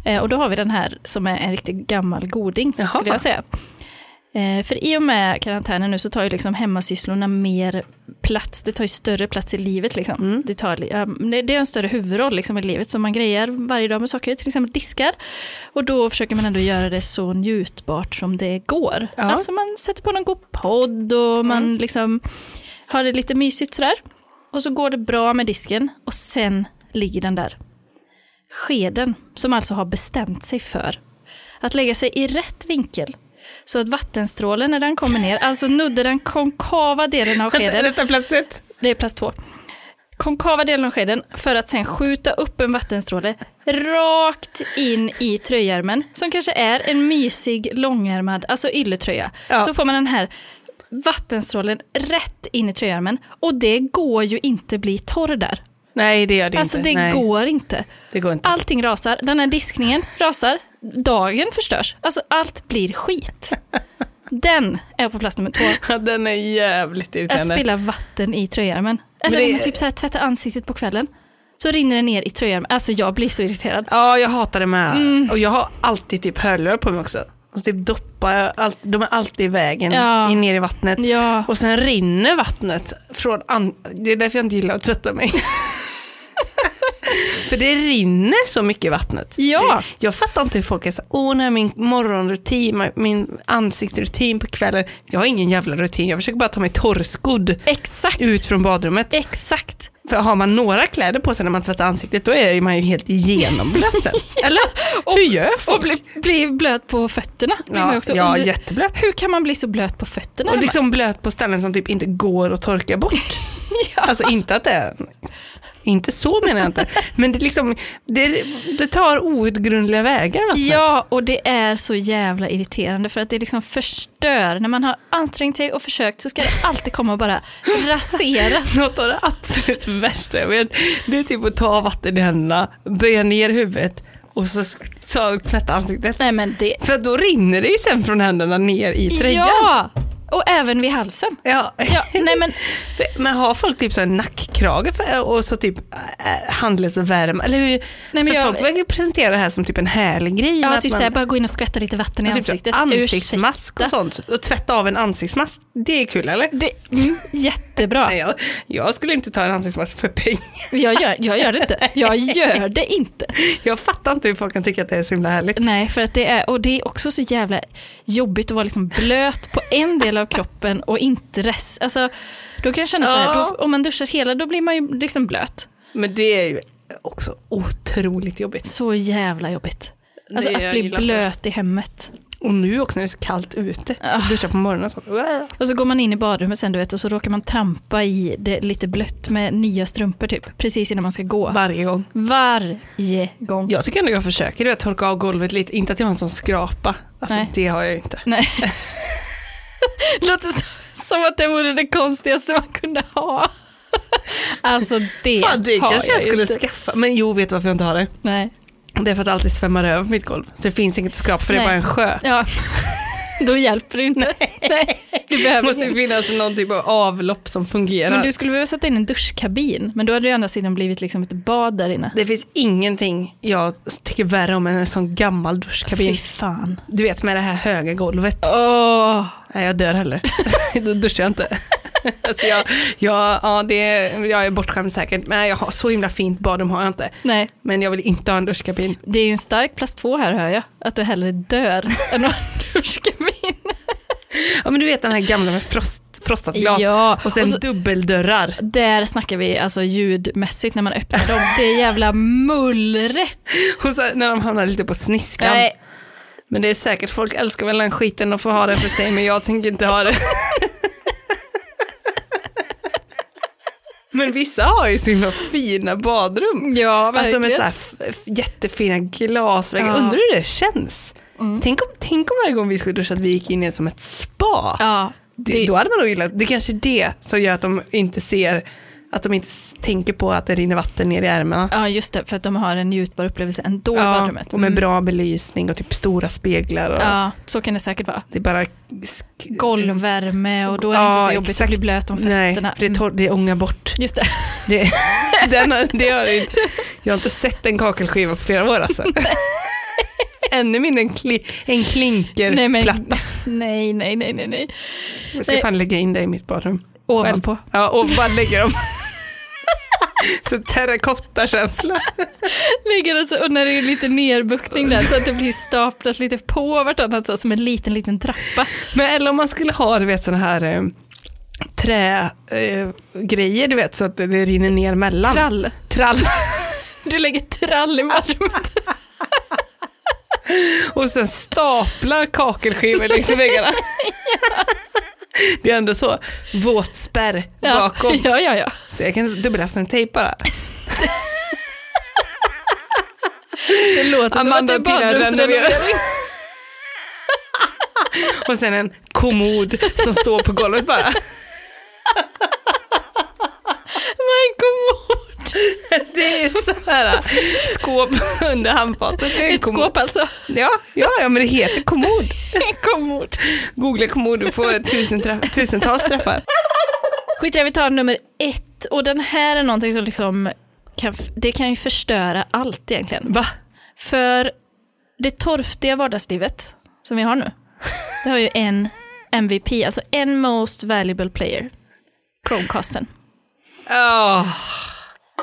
Eh, Och då har vi den här som är en riktig gammal goding,
Jaha.
skulle jag säga. Eh, För i och med karantänen nu så tar ju liksom hemmasysslorna mer plats, det tar ju större plats i livet liksom. Det, tar, li- ja, men det- det är en större huvudroll liksom i livet som man grejer varje dag med saker, till exempel diskar. Och då försöker man ändå göra det så njutbart som det går.
Ja.
Alltså man sätter på någon god podd och man liksom har det lite mysigt sådär. Och så går det bra med disken och sen ligger den där. Skeden, som alltså har bestämt sig för att lägga sig i rätt vinkel så att vattenstrålen när den kommer ner, alltså nuddar den konkava delen av skeden,
(laughs) Detta platset.
det är plats två, konkava delen av skeden för att sen skjuta upp en vattenstråle rakt in i tröjärmen som kanske är en mysig långärmad, alltså ylletröja.
Ja.
Så får man den här vattenstrålen rätt in i tröjärmen och det går ju inte bli torr där.
Nej det gör det
alltså
inte.
det
Nej,
går inte.
det går inte.
Allting rasar, den här diskningen rasar, dagen förstörs. Alltså allt blir skit. Den är på plats nummer två.
Ja, (laughs) Den är jävligt
Att
irriterande.
spilla vatten i tröjärmen. Eller
det-
om man typ så här tvättar ansiktet på kvällen. Så rinner det ner i tröjärmen. Alltså jag blir så irriterad.
Ja, jag hatar det med.
Mm.
Och jag har alltid typ hörlurar på mig också. Och typ doppar, jag allt, de är alltid i vägen
Ja.
in ner i vattnet.
Ja,
Och sen rinner vattnet från... An- det är därför jag inte gillar att tvätta mig. (laughs) För det rinner så mycket i vattnet.
ja.
Jag fattar inte hur folk är så åh nej min morgonrutin, ma- min ansiktsrutin på kvällen. Jag har ingen jävla rutin, jag försöker bara ta mig torrskodd
exakt.
ut från badrummet.
Exakt.
För har man några kläder på sig när man tvättar ansiktet, då är man ju helt
(laughs)
genomblöt sen. Eller? hur gör folk?
Och blir bli blöt på fötterna. blir man
Ja,
ju också.
ja
Och du-
jätteblöt.
Hur kan man bli så blöt på fötterna?
Och
hemma?
liksom blöt på ställen som typ inte går att
(laughs)
torka bort.
Ja.
Alltså inte att det är... Inte så menar jag inte. Men det, liksom, det, det tar outgrundliga vägar alltså. vattnet.
Ja, och det är så jävla irriterande för att det liksom förstör. När man har ansträngt sig och försökt så ska det alltid komma och bara rasera.
Något av det absolut värsta jag vet, det är typ att ta vatten i händerna, böja ner huvudet och så ta, tvätta ansiktet.
(laughs) Nej men det...
För då rinner det ju sen från händerna ner i tröjan.
Ja! Och även vid halsen.
Ja.
Ja, nej (laughs) men
(laughs) För- Men har folk typ så här nackkrage för, och så typ äh, handledsvärm? Eller hur?
men
för
jag-
folk verkar presentera det här som typ en härlig grej. med
ja,
att
typ
man-
såhär, bara gå in och skvätta lite vatten i
Ja, typ så
ansiktet.
ansiktsmask
Ursäkta.
och sånt. Och tvätta av en ansiktsmask, det är kul eller?
Det, mm, (laughs) jättebra.
Nej, jag, jag skulle inte ta en ansiktsmask för pengar. (laughs)
Jag gör, jag gör det inte. Jag gör det inte.
Jag fattar inte hur folk kan tycka att det är så himla härligt.
Nej, för att det är, och det är också så jävla jobbigt att vara liksom blöt på en del av kroppen och inte rest. Alltså, då kan jag känna så här,
Ja.
då, om man duschar hela då blir man ju liksom blöt.
Men det är ju också otroligt jobbigt.
Så jävla jobbigt. Alltså
Det
att
jag
bli
gillar
blöt i hemmet.
Och nu också när det är så kallt ute.
Ah.
Duscha på morgonen och sånt.
Och så går man in i badrummet sen du vet och så råkar man trampa i det lite blött med nya strumpor typ. Precis innan man ska gå.
Varje gång.
Varje gång.
Jag tycker ändå jag försöker du vet, torka av golvet lite. Inte att jag har en sån skrapa. Alltså
Nej.
det har jag ju inte.
Nej. (laughs) Låter så- som att det vore det konstigaste man kunde ha. Alltså det,
Fan, det
har
kanske jag,
ju
skulle
inte.
skaffa. Men jo, vet du varför jag inte har det?
Nej.
Det är för att det alltid svämmar över mitt golv. Så det finns inget skrap för det är
Nej.
bara en sjö.
Ja. Då hjälper det ju inte. Nej. Du
Det
behöver
måste ju
ingen.
finnas någon typ av avlopp som fungerar.
Men du skulle behöva sätta in en duschkabin. Men då hade det ju å andra sidan blivit liksom ett bad där inne.
Det finns ingenting jag tycker värre om än en sån gammal duschkabin.
Fy fan.
Du vet med det här höga golvet.
Åh.
Nej, jag dör heller. (laughs) Då duschar jag inte. (laughs) alltså jag, jag, ja, det, jag är bortskämd säkert. Men jag har så himla fint badrum har jag inte.
Nej,
Men jag vill inte ha en duschkabin.
det är ju en stark plats två här hör jag. Att du hellre dör än att ha en (laughs) duschkabin.
Ja, men du vet den här gamla med frost, frostat glas.
Ja,
Och sen
och så-
dubbeldörrar.
Där snackar vi alltså ljudmässigt när man öppnar dem. Det är jävla mullret.
Och så när de hamnar lite på sniskan.
Nej,
Men det är säkert, folk älskar väl den skiten, de får ha den för sig, men jag tänker inte ha det. men vissa har ju så himla fina badrum.
ja
Alltså
verkligen.
med så här f- f- jättefina glasväggar.
Ja. Mm.
Undrar hur det känns? Tänk, om, tänk om varje gång vi skulle duscha att vi gick in i som ett spa.
ja,
det,
det-
Då hade man nog gillat, det kanske är det som gör att de inte ser, att de inte s- tänker på att det rinner vatten ner i ärmarna.
ja, just det, för att de har en njutbar upplevelse ändå i
Ja,
badrummet.
och med
Mm.
bra belysning och typ stora speglar. Och
Ja, så kan det säkert vara.
Det är bara sk-
Golvvärme och då är det inte så jobbigt
exakt.
att bli blöt om fötterna. Mm.
Nej, för det, tor- det ångar bort.
Just det.
Det,
(laughs)
den, har- det har jag, inte, jag har inte sett en kakelskiva på flera
(laughs)
år alltså. Ännu mindre en, kli, en
Nej, men-
klinkerplatta.
(laughs) Nej, nej, nej, nej, nej.
Jag ska
nej.
fan lägga in det i mitt badrum.
Ovanpå.
Ja, och bara lägga dem. (laughs) Så terrakottakänsla.
Ligger och, så, och när det är lite nerbuktning där så att det blir staplat lite på vartannat så, som en liten, liten trappa.
Men eller om man skulle ha du vet sådana här eh, trägrejer eh, grejer, du vet så att det rinner ner mellan.
Trall.
Trall. (laughs)
Du lägger trall i badrummet.
Och sen staplar kakelskivor längs väggarna. (laughs) Det är ändå så, våtspärr
Ja.
(laughs) bakom.
Ja, ja, ja.
Så jag kan dubbelhäfta en tejp bara.
Det låter
Amanda
som att det är
Tina
badrumsrenovering.
Och sen en kommod som står på golvet bara.
(laughs) Men kommod.
(laughs) Det är så här eh, skåp under handfatet. Det är en
Ett
kommod.
skåp alltså.
Ja, ja, ja, men det heter (laughs) kommod.
En kommod.
Googla kommod, du får tusen träff, tusentals träffar.
Skit i det, vi tar nummer ett. Och den här är någonting som liksom kan, f- det kan ju förstöra allt egentligen. Va? För det torftiga vardagslivet som vi har nu, det har ju en MVP, alltså en most valuable player, Chromecasten.
Oh.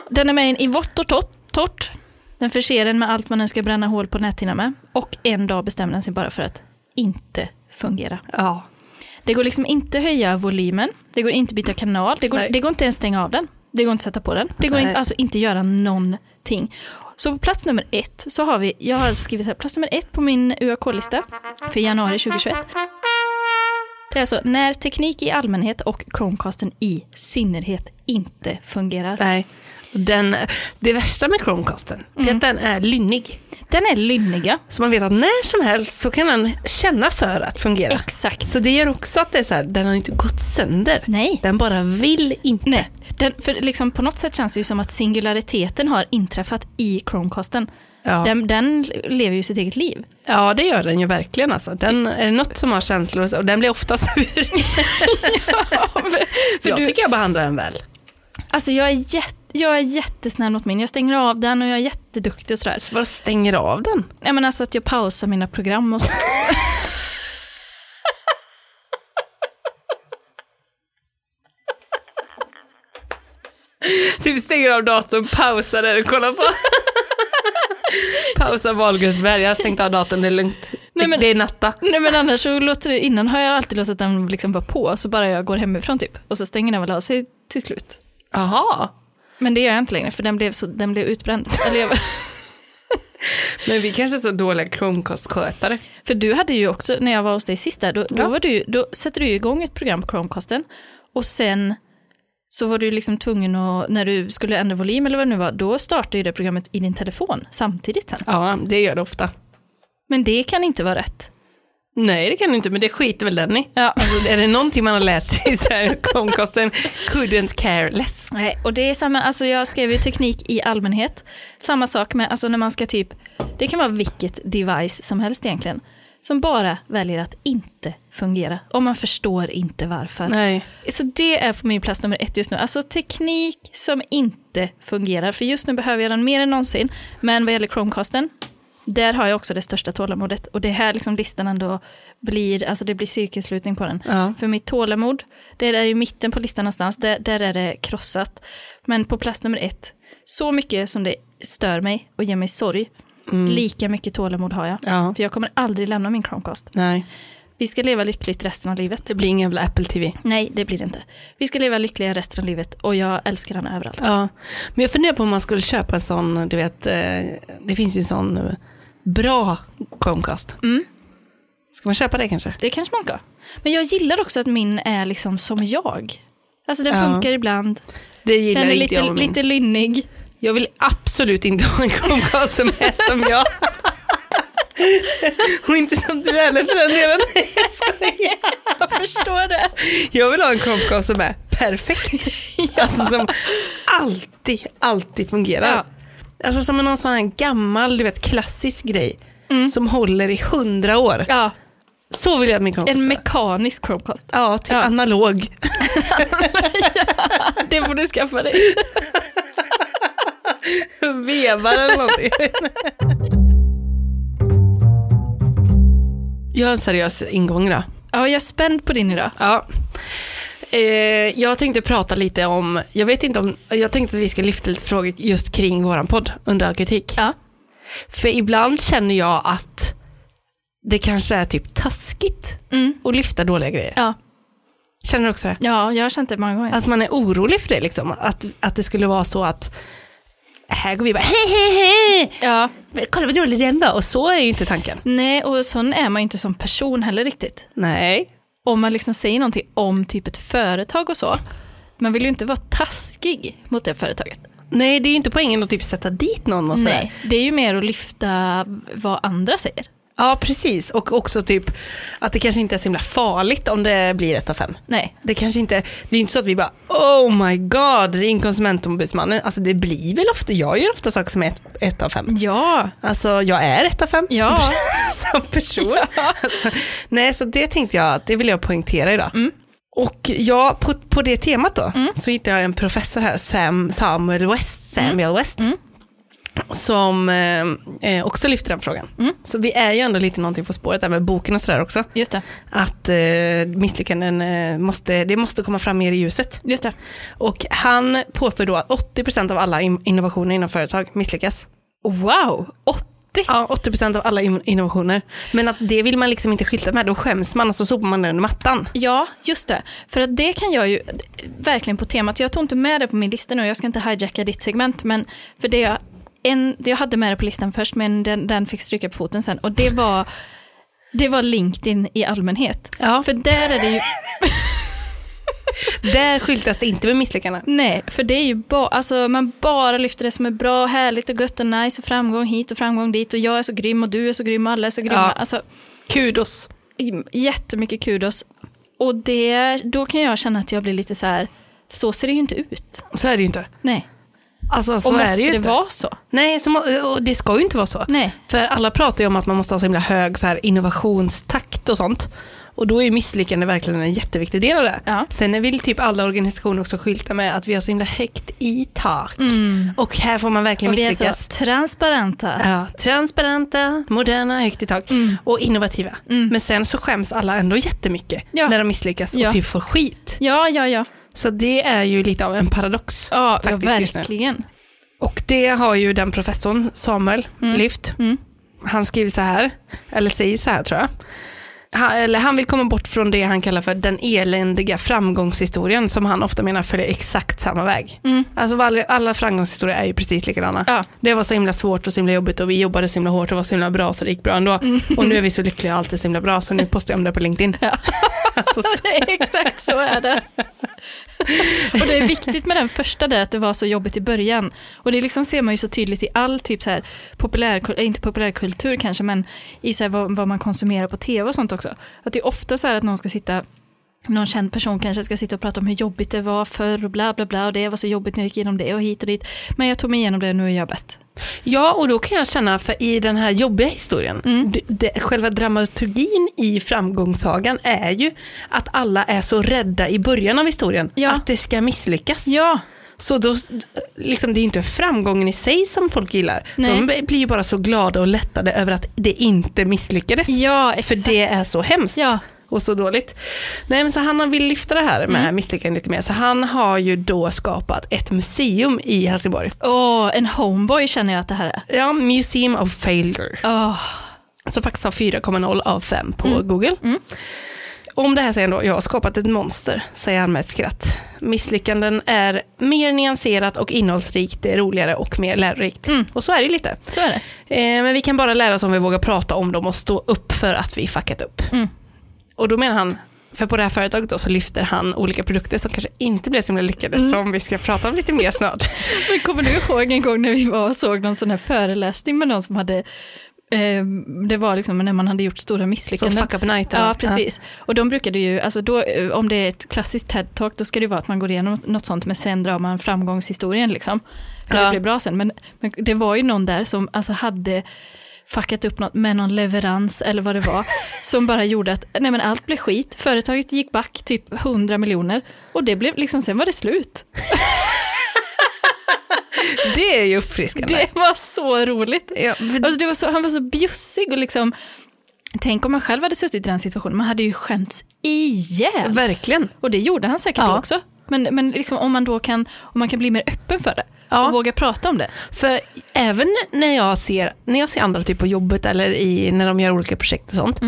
Den är med i en i vått och torrt- torrt. Den förser en med allt man önskar bränna hål på näthinnan med. Och en dag bestämmer den sig bara för att inte fungera.
Ja.
Det går liksom inte höja volymen, det går inte byta kanal, det går,
Nej.
det går inte ens stänga av den, det går inte sätta på den, det går
Nej.
inte, alltså inte göra någonting. Så på plats nummer ett så har vi, jag har skrivit här, plats nummer ett på min UAK-lista för januari 2021. Det är alltså när teknik i allmänhet och Chromecasten i synnerhet inte fungerar.
Nej. Den, det värsta med Chromecasten är att den är lynnig.
Den är lynniga.
Så man vet att när som helst så kan den känna för att fungera.
Exakt.
Så det gör också att det är så här, den har ju inte gått sönder.
Nej.
Den bara vill inte.
Nej, den, för liksom på något sätt känns det ju som att singulariteten har inträffat i Chromecasten.
Ja.
Den, den lever ju sitt eget liv.
ja, det gör den ju verkligen. Alltså. Den, är det något som har känslor och så- och den blir ofta (laughs) sur.
för
jag
du-
tycker jag behandlar den väl.
Alltså jag är, jätt, jag är jättesnäll mot min. Jag stänger av den och jag är jätteduktig och sådär.
Vad stänger av den?
Nej men alltså att jag pausar mina program och så.
Typ stänger av datorn, pausar den och kollar på. Pausa Wahlgrensberg, jag har stängt av datorn, det är lugnt.
Nej, men-
det är natta.
Nej men annars så låter det, innan har jag alltid låtit den liksom vara på så bara jag går hemifrån typ. Och så stänger den väl av sig till slut.
Jaha.
Men det gör jag inte längre för den blev, så, den blev utbränd. Eller jag,
Men vi kanske är så dåliga Chromecast-skötare.
För du hade ju också, när jag var hos dig sist där, då, då, var du, då sätter du ju igång ett program på Chromecasten och sen så var du liksom tvungen att, när du skulle ändra volym eller vad det nu var, då startade ju det programmet i din telefon samtidigt sen.
Ja, det gör det ofta.
Men det kan inte vara rätt.
Nej, det kan du inte, men det skiter väl den i.
Ja.
Alltså, är det någonting man har lärt sig så här, Chromecasten couldn't care less.
Nej, och det är samma, alltså jag skrev ju teknik i allmänhet. Samma sak med, alltså när man ska typ, det kan vara vilket device som helst egentligen, som bara väljer att inte fungera. Och man förstår inte varför.
Nej.
Så det är på min plats nummer ett just nu. Alltså teknik som inte fungerar. För just nu behöver jag den mer än någonsin. Men vad gäller Chromecasten, där har jag också det största tålamodet. Och det är här liksom listan ändå blir, alltså det blir cirkelslutning på den.
Ja.
För mitt tålamod, det är i mitten på listan någonstans, där, där är det krossat. Men på plats nummer ett, så mycket som det stör mig och ger mig sorg, lika mycket tålamod har jag.
Mm. Ja.
För jag kommer aldrig lämna min Chromecast.
Nej.
Vi ska leva lyckligt resten av livet.
Det blir ingen jävla Apple TV.
Nej, det blir det inte. Vi ska leva lyckliga resten av livet och jag älskar den överallt.
Ja, men jag funderar på om man skulle köpa en sån, du vet, eh, det finns ju en sån eh, bra Chromecast.
Mm.
Ska man köpa det kanske?
Det kanske man ska. Men jag gillar också att min är liksom som jag. Alltså den
Ja.
funkar ibland.
Det
Den
gillar
är
inte jag
lite,
med min.
lite lynnig.
Jag vill absolut inte ha en Chromecast som är som jag. Och inte som du heller för den delen. Jag skojar.
Jag förstår det.
Jag vill ha en Chromecast som är perfekt. Alltså som alltid, alltid fungerar.
Ja.
Alltså som någon sån här gammal, du vet klassisk grej. Som håller i hundra år.
Mm. Ja,
Så vill jag att min Chromecast
en
är.
mekanisk Chromecast. (laughs)
Ja, typ
Ja.
analog.
Det får du skaffa dig.
Vevar eller någonting. Jag har en seriös ingång då.
Ja, jag är spänd på din idag.
Ja. Eh, jag tänkte prata lite om, jag vet inte om, jag tänkte att vi ska lyfta lite frågor just kring våran podd, under all kritik.
Ja.
För ibland känner jag att det kanske är typ taskigt
Mm.
att lyfta dåliga grejer.
Ja.
Känner du också det?
ja, jag har känt det många gånger.
Att man är orolig för det liksom, att, att det skulle vara så att här går vi bara hej hej hej,
Ja.
Men kolla vad rolig den var. Och så är ju inte tanken.
Nej, och sån är man ju inte som person heller riktigt.
Nej.
om man liksom säger någonting om typ ett företag och så, man vill ju inte vara taskig mot det företaget.
Nej, det är ju inte poängen att typ sätta dit någon och sådär.
Nej, det är ju mer att lyfta vad andra säger.
Ja, precis. Och också typ att det kanske inte är så himla farligt om det blir ett av fem.
Nej,
Det kanske inte, det är inte så att vi bara oh my god, ring konsumentombudsmannen. Alltså det blir väl ofta, jag gör ofta saker som är ett, ett av fem.
ja,
Alltså jag är ett av fem som
Ja.
person. (laughs) Som person. Alltså, nej, så det tänkte jag, att det vill jag poängtera idag. Och jag, på, på det temat då, så hittade jag en professor här, Sam, Samuel West, Samuel West som eh, eh, också lyfter den frågan. Så vi är ju ändå lite någonting på spåret där med boken och sådär också.
just det.
Att eh, misslyckanden eh, måste, det måste komma fram mer i ljuset.
Just det.
Och han påstår då att 80% av alla in- innovationer inom företag misslyckas.
Wow, 80!
Ja, 80% av alla in- innovationer. Men att det vill man liksom inte skylta med, då skäms man och så sopar man den under mattan.
Ja, just det. För att det kan jag ju, verkligen på temat, jag tog inte med det på min lista nu, jag ska inte hijacka ditt segment, men för det jag, en, det jag hade med det på listan först, men den, den fick stryka på foten sen, och det var, det var LinkedIn i allmänhet.
Ja.
För där är det ju
Där skyltas det inte med misslyckanden.
Nej, för det är ju bara, alltså man bara lyfter det som är bra, härligt och gött och nice och framgång hit och framgång dit och jag är så grym och du är så grym och alla är så grymma.
Ja.
Alltså
Kudos.
j- jättemycket kudos. Och det, då kan jag känna att jag blir lite så här, så ser det ju inte ut.
Så är det ju inte.
Nej,
Alltså så
och
är
måste
det ju
det,
inte.
vara så?
Nej, så må- och det ska ju inte vara så.
Nej.
För alla pratar ju om att man måste ha så himla hög så här, innovationstakt och sånt. Och då är ju misslyckande verkligen en jätteviktig del av det.
Ja.
Sen vill typ alla organisationer också skylta med att vi har så himla högt i tak. Och här får man verkligen
Mm. Och vi är
misslyckas.
så transparenta.
Ja, transparenta, moderna, högt i tak
Mm.
och innovativa. Men sen så skäms alla ändå jättemycket
Ja.
när de misslyckas och
Ja.
typ får skit.
Ja, ja, ja.
Så det är ju lite av en paradox.
Ja, ja
Faktiskt just nu.
verkligen.
Och det har ju den
Mm.
professorn, Samuel, lyft. Han skriver så här, eller säger så här tror jag. han, eller han vill komma bort från det han kallar för den eländiga framgångshistorien som han ofta menar följer exakt samma väg. Alltså varje- alla framgångshistorier är ju precis likadana.
Mm. Ja.
Det var så himla svårt och så himla jobbigt och vi jobbade så himla hårt och var så himla bra så det gick bra ändå.
Mm.
Och nu är vi så lyckliga och allt är så himla bra så nu postar jag om det på LinkedIn.
(laughs)
alltså, (laughs) så,
Exakt så är (laughs) det. och det är viktigt med den första där att det var så jobbigt i början. Och det liksom ser man ju så tydligt i all typ så här populär, eh, inte populärkultur kanske, men i så här vad, vad man konsumerar på tv och sånt också. Att det är ofta så här att någon ska sitta någon känd person kanske ska sitta och prata om hur jobbigt det var förr och bla bla bla och det var så jobbigt när jag gick igenom det och hit och dit. Men jag tog mig igenom det och nu är jag bäst.
Ja, och då kan jag känna, för i den här jobbiga historien,
Mm.
d- det, själva dramaturgin i framgångssagan är ju att alla är så rädda i början av historien
Ja.
att det ska misslyckas.
Ja,
Så då, d- liksom, det är ju inte framgången i sig som folk gillar.
Nej.
De blir ju bara så glada och lättade över att det inte misslyckades.
ja
För
exakt.
det är så hemskt
Ja.
och så dåligt. Nej men så han vill lyfta det här med misslyckanden lite mer. Så han har ju då skapat ett museum i Helsingborg.
Åh, en homeboy känner jag att det här är.
Ja, Museum of Failure.
Åh,
som faktiskt har 4,0 av 5 på Google. Om det här säger han då, jag har skapat ett monster, säger han med ett skratt. Misslyckanden är mer nyanserat och innehållsrikt, det är roligare och mer lärorikt. Och så är det lite.
så är det.
Eh, men vi kan bara lära oss om vi vågar prata om dem och stå upp för att vi fuckat upp. Och då menar han, för på det här företaget då så lyfter han olika produkter som kanske inte blev så himla lyckade, som vi ska prata om lite mer (laughs) snart.
Men kommer du ihåg en gång när vi var och såg någon sån här föreläsning med någon som hade eh, det var liksom när man hade gjort stora
Som
misslyckanden.
fuck up night. eller
Ja,
något.
precis. Och de brukade ju, alltså då, eh, om det är ett klassiskt TED-talk, då ska det ju vara att man går igenom något sånt, men sen drar man framgångshistorien liksom. Hur
Ja.
det blev bra sen. Men, men det var ju någon där som alltså hade fuckat upp något med någon leverans eller vad det
(laughs)
var, som bara gjorde att nej men allt blev skit. Företaget gick back typ 100 miljoner och det blev liksom, sen var det slut.
Ja. Det är ju uppfriskande.
Det var så roligt.
Ja, för-
(laughs) Alltså det var så, han var så bjussig och liksom, tänk om man själv hade suttit i den situationen, man hade ju skämts ihjäl.
verkligen.
Och det gjorde han säkert
Ja.
också. Men, men liksom, om man då kan, om man kan bli mer öppen för det
Ja.
och våga prata om det.
För även när jag ser, när jag ser andra typ på jobbet eller i, när de gör olika projekt och sånt.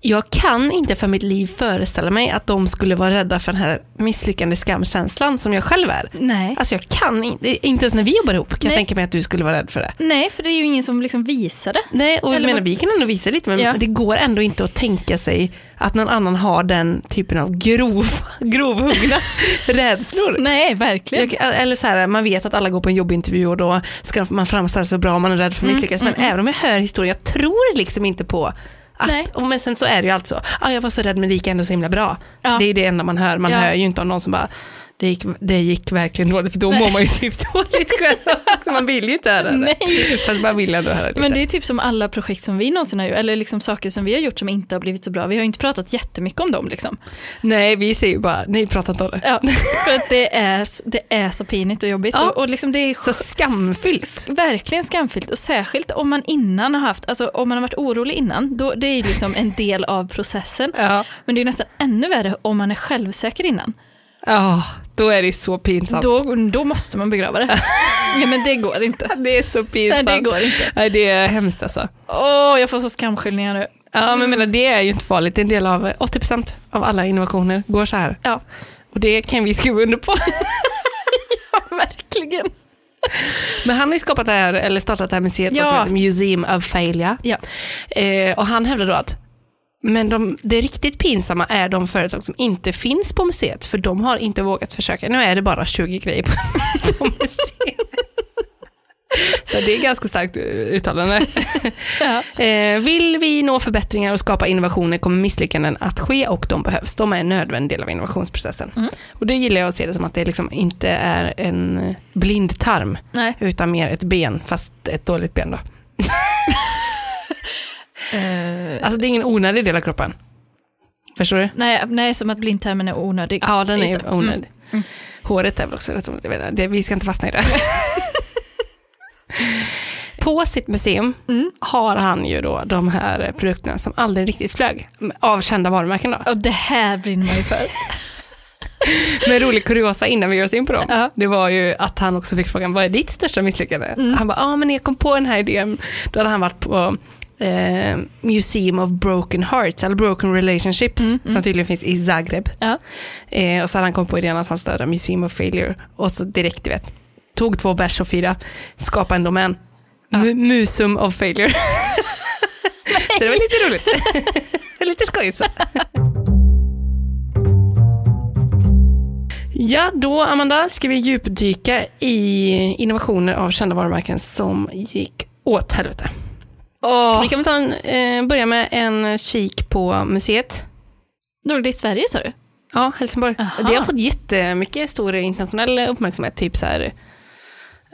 Jag kan inte för mitt liv föreställa mig att de skulle vara rädda för den här misslyckande skamkänslan som jag själv är.
Nej.
Alltså jag kan inte, inte ens när vi jobbar ihop kan jag
Nej.
tänka mig att du skulle vara rädd för det.
Nej, för det är ju ingen som liksom visar det.
Nej, och jag
Eller
menar
vad-
vi kan ändå visa lite men
Ja.
det går ändå inte att tänka sig att någon annan har den typen av grov, (laughs) grovhuggna (laughs) rädslor.
Nej, verkligen.
Jag, eller så här, man vet att alla går på en jobbintervju och då ska man framställa sig så bra man är rädd för
Mm,
att misslyckas. men även om jag hör historien, jag tror liksom inte på att,
Nej.
och men sen så är det ju allt så, ah, jag var så rädd men det gick ändå så himla bra.
Ja.
Det är ju det enda man hör, man
Ja.
hör ju inte om någon som bara, det gick, det gick verkligen dåligt för då mår man ju typ (laughs) dåligt själv också, man vill ju inte höra det.
Nej.
Fast man vill ändå höra lite.
Men det är typ som alla projekt som vi någonsin har gjort, eller liksom saker som vi har gjort som inte har blivit så bra. Vi har ju inte pratat jättemycket om dem. Liksom.
Nej vi ser ju bara, ni pratar inte om det.
Ja, (laughs) för att det är, s- det är så pinigt och jobbigt.
Ja.
Och, och liksom det är
Så skamfylls.
Verkligen skamfyllt och särskilt om man innan har haft, alltså om man har varit orolig innan, då, det är ju liksom en del av processen.
Ja.
Men det är ju nästan ännu värre om man är självsäker innan.
Ja, då är det ju så pinsamt.
Då, då måste man begrava
(laughs)
det. Nej men det går inte.
Det är så
Nej
pinsamt.
det går inte.
Nej, det är hemskt alltså.
Åh, jag får så skamskyllningar
(laughs)
nu.
Ja,
Mm.
men jag menar, det är ju inte farligt. Det är en del av 80% av alla innovationer går så här.
Ja,
Och det kan vi skriva
(laughs)
under på.
verkligen.
Men han har ju skapat det här, eller startat det här museet
Ja.
som heter Museum of Failure.
Ja.
Eh, och han hävdar då att men de, det riktigt pinsamma är de företag som inte finns på museet för de har inte vågat försöka. Nu är det bara 20 grejer på, (laughs) på
(laughs)
museet. Så det är ganska starkt eh, uttalande.
Ja.
Eh, vill vi nå förbättringar och skapa innovationer kommer misslyckanden att ske och de behövs. De är en nödvändig del av innovationsprocessen.
Mm.
Och det gillar jag att se det som att det liksom inte är en blind tarm
Nej.
utan mer ett ben, fast ett dåligt ben då.
Eh,
Alltså det är ingen onödig del av kroppen. Förstår du?
nej, nej, som att blindtarmen är onödig.
Ja, den
Just
är
det.
onödig.
Mm.
Håret är väl också rätt onödigt, jag vet inte. Det- Vi ska inte fastna i det. (laughs) På sitt museum
Mm,
har han ju då de här produkterna som aldrig riktigt flög, av kända varumärken då.
Och det här brinner man ju för.
Men rolig kuriosa innan vi gör oss in på dem,
Ja.
det var ju att han också fick frågan, vad är ditt största misslyckande? Han bara, ja ah, men när jag kom på den här idén, då hade han varit på eh, Museum of Broken Hearts, eller Broken Relationships, som tydligen finns i Zagreb.
Mm, Ja.
Eh, och så hade han kommit på idén att han stödde Museum of Failure. Och så direkt, du vet, tog två bärs och fyra, skapade en domän. Mu- Musum of Failure. (laughs) så det var lite roligt. (laughs) lite skojigt så. Ja, då Amanda ska vi djupdyka i innovationer av kända varumärken som gick åt helvete.
Åh.
Vi kan väl ta en, eh, börja med en kik på museet.
Drog det i Sverige sa du?
Ja, Helsingborg.
Aha.
Det har fått jättemycket stor internationell uppmärksamhet, typ så här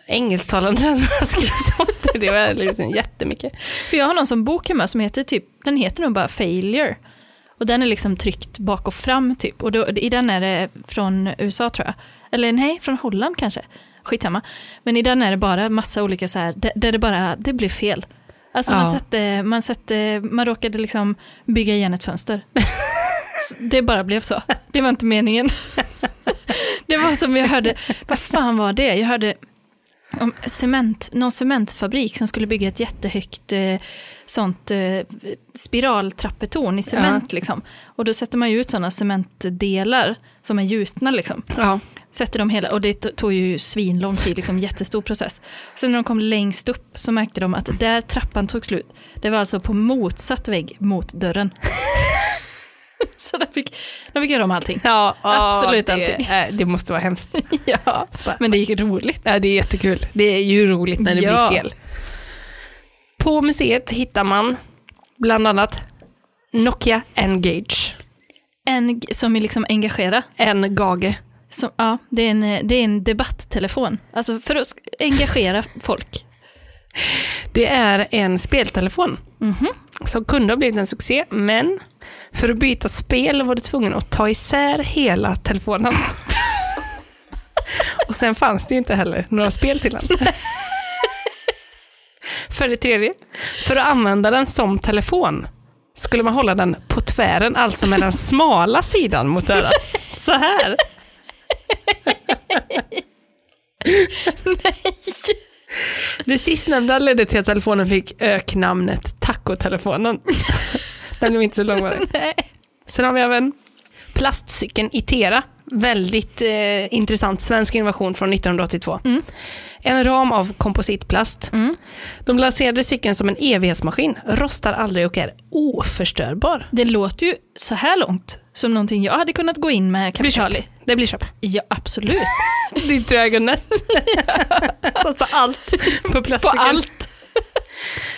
engelsktalande (laughs) länder har skrivit om det. Det var liksom jättemycket.
För jag har någon som bok hemma som heter typ, den heter nog bara Failure. Och den är liksom tryckt bak och fram typ. Och då, i den är det från USA tror jag. Eller nej, från Holland kanske. Skitsamma. Men i den är det bara massa olika så här, där- där det bara, det blev fel. Alltså man,
Ja.
satte, man, satte, man råkade liksom bygga igen ett fönster. Så det bara blev så. Det var inte meningen. (laughs) Det var som jag hörde, vad fan var det? Jag hörde om cement, någon cementfabrik som skulle bygga ett jättehögt eh, sånt eh, spiraltrappetorn i cement. Liksom. Och då sätter man ju ut sådana cementdelar som är gjutna. Liksom.
Ja.
Sätter dem hela, och det to- tog ju svinlång tid, liksom, jättestor process. Sen när de kom längst upp så märkte de att där trappan tog slut, det var alltså på motsatt vägg mot dörren. (laughs) så de fick, de fick göra om allting.
Ja,
Absolut
det,
allting.
eh, det måste vara hemskt.
(laughs) Ja, men det gick roligt.
Ja, det är jättekul. Det är ju roligt när det
Ja.
blir fel. På museet hittar man bland annat Nokia N-Gage.
En g- som är liksom engagera.
N-Gage.
Som, ja, det är, en, eh, det är en debatttelefon. Alltså för att sk- engagera (laughs) folk.
Det är en speltelefon som kunde ha blivit en succé, men för att byta spel var du tvungen att ta isär hela (laughs) telefonen. Och sen fanns det ju inte heller några spel till (laughs) den. För det tredje, för att använda den som telefon skulle man hålla den på tvären, alltså med den smala sidan mot örat. (laughs) Så här. Det sistnämnda ledde till att telefonen fick öknamnet (laughs) Tacotelefonen. Den blev inte så långvarig. Sen har vi även plastcykeln Itera. Väldigt eh, intressant svensk innovation från 1982. En ram av kompositplast. De lanserade cykeln som en evighetsmaskin, rostar aldrig och är oförstörbar.
Det låter ju så här långt som någonting jag hade kunnat gå in med kapital i.
Det blir (laughs) köp.
Ja, absolut.
Det tror jag är (laughs) näst. alltså allt på plastcykeln.
allt.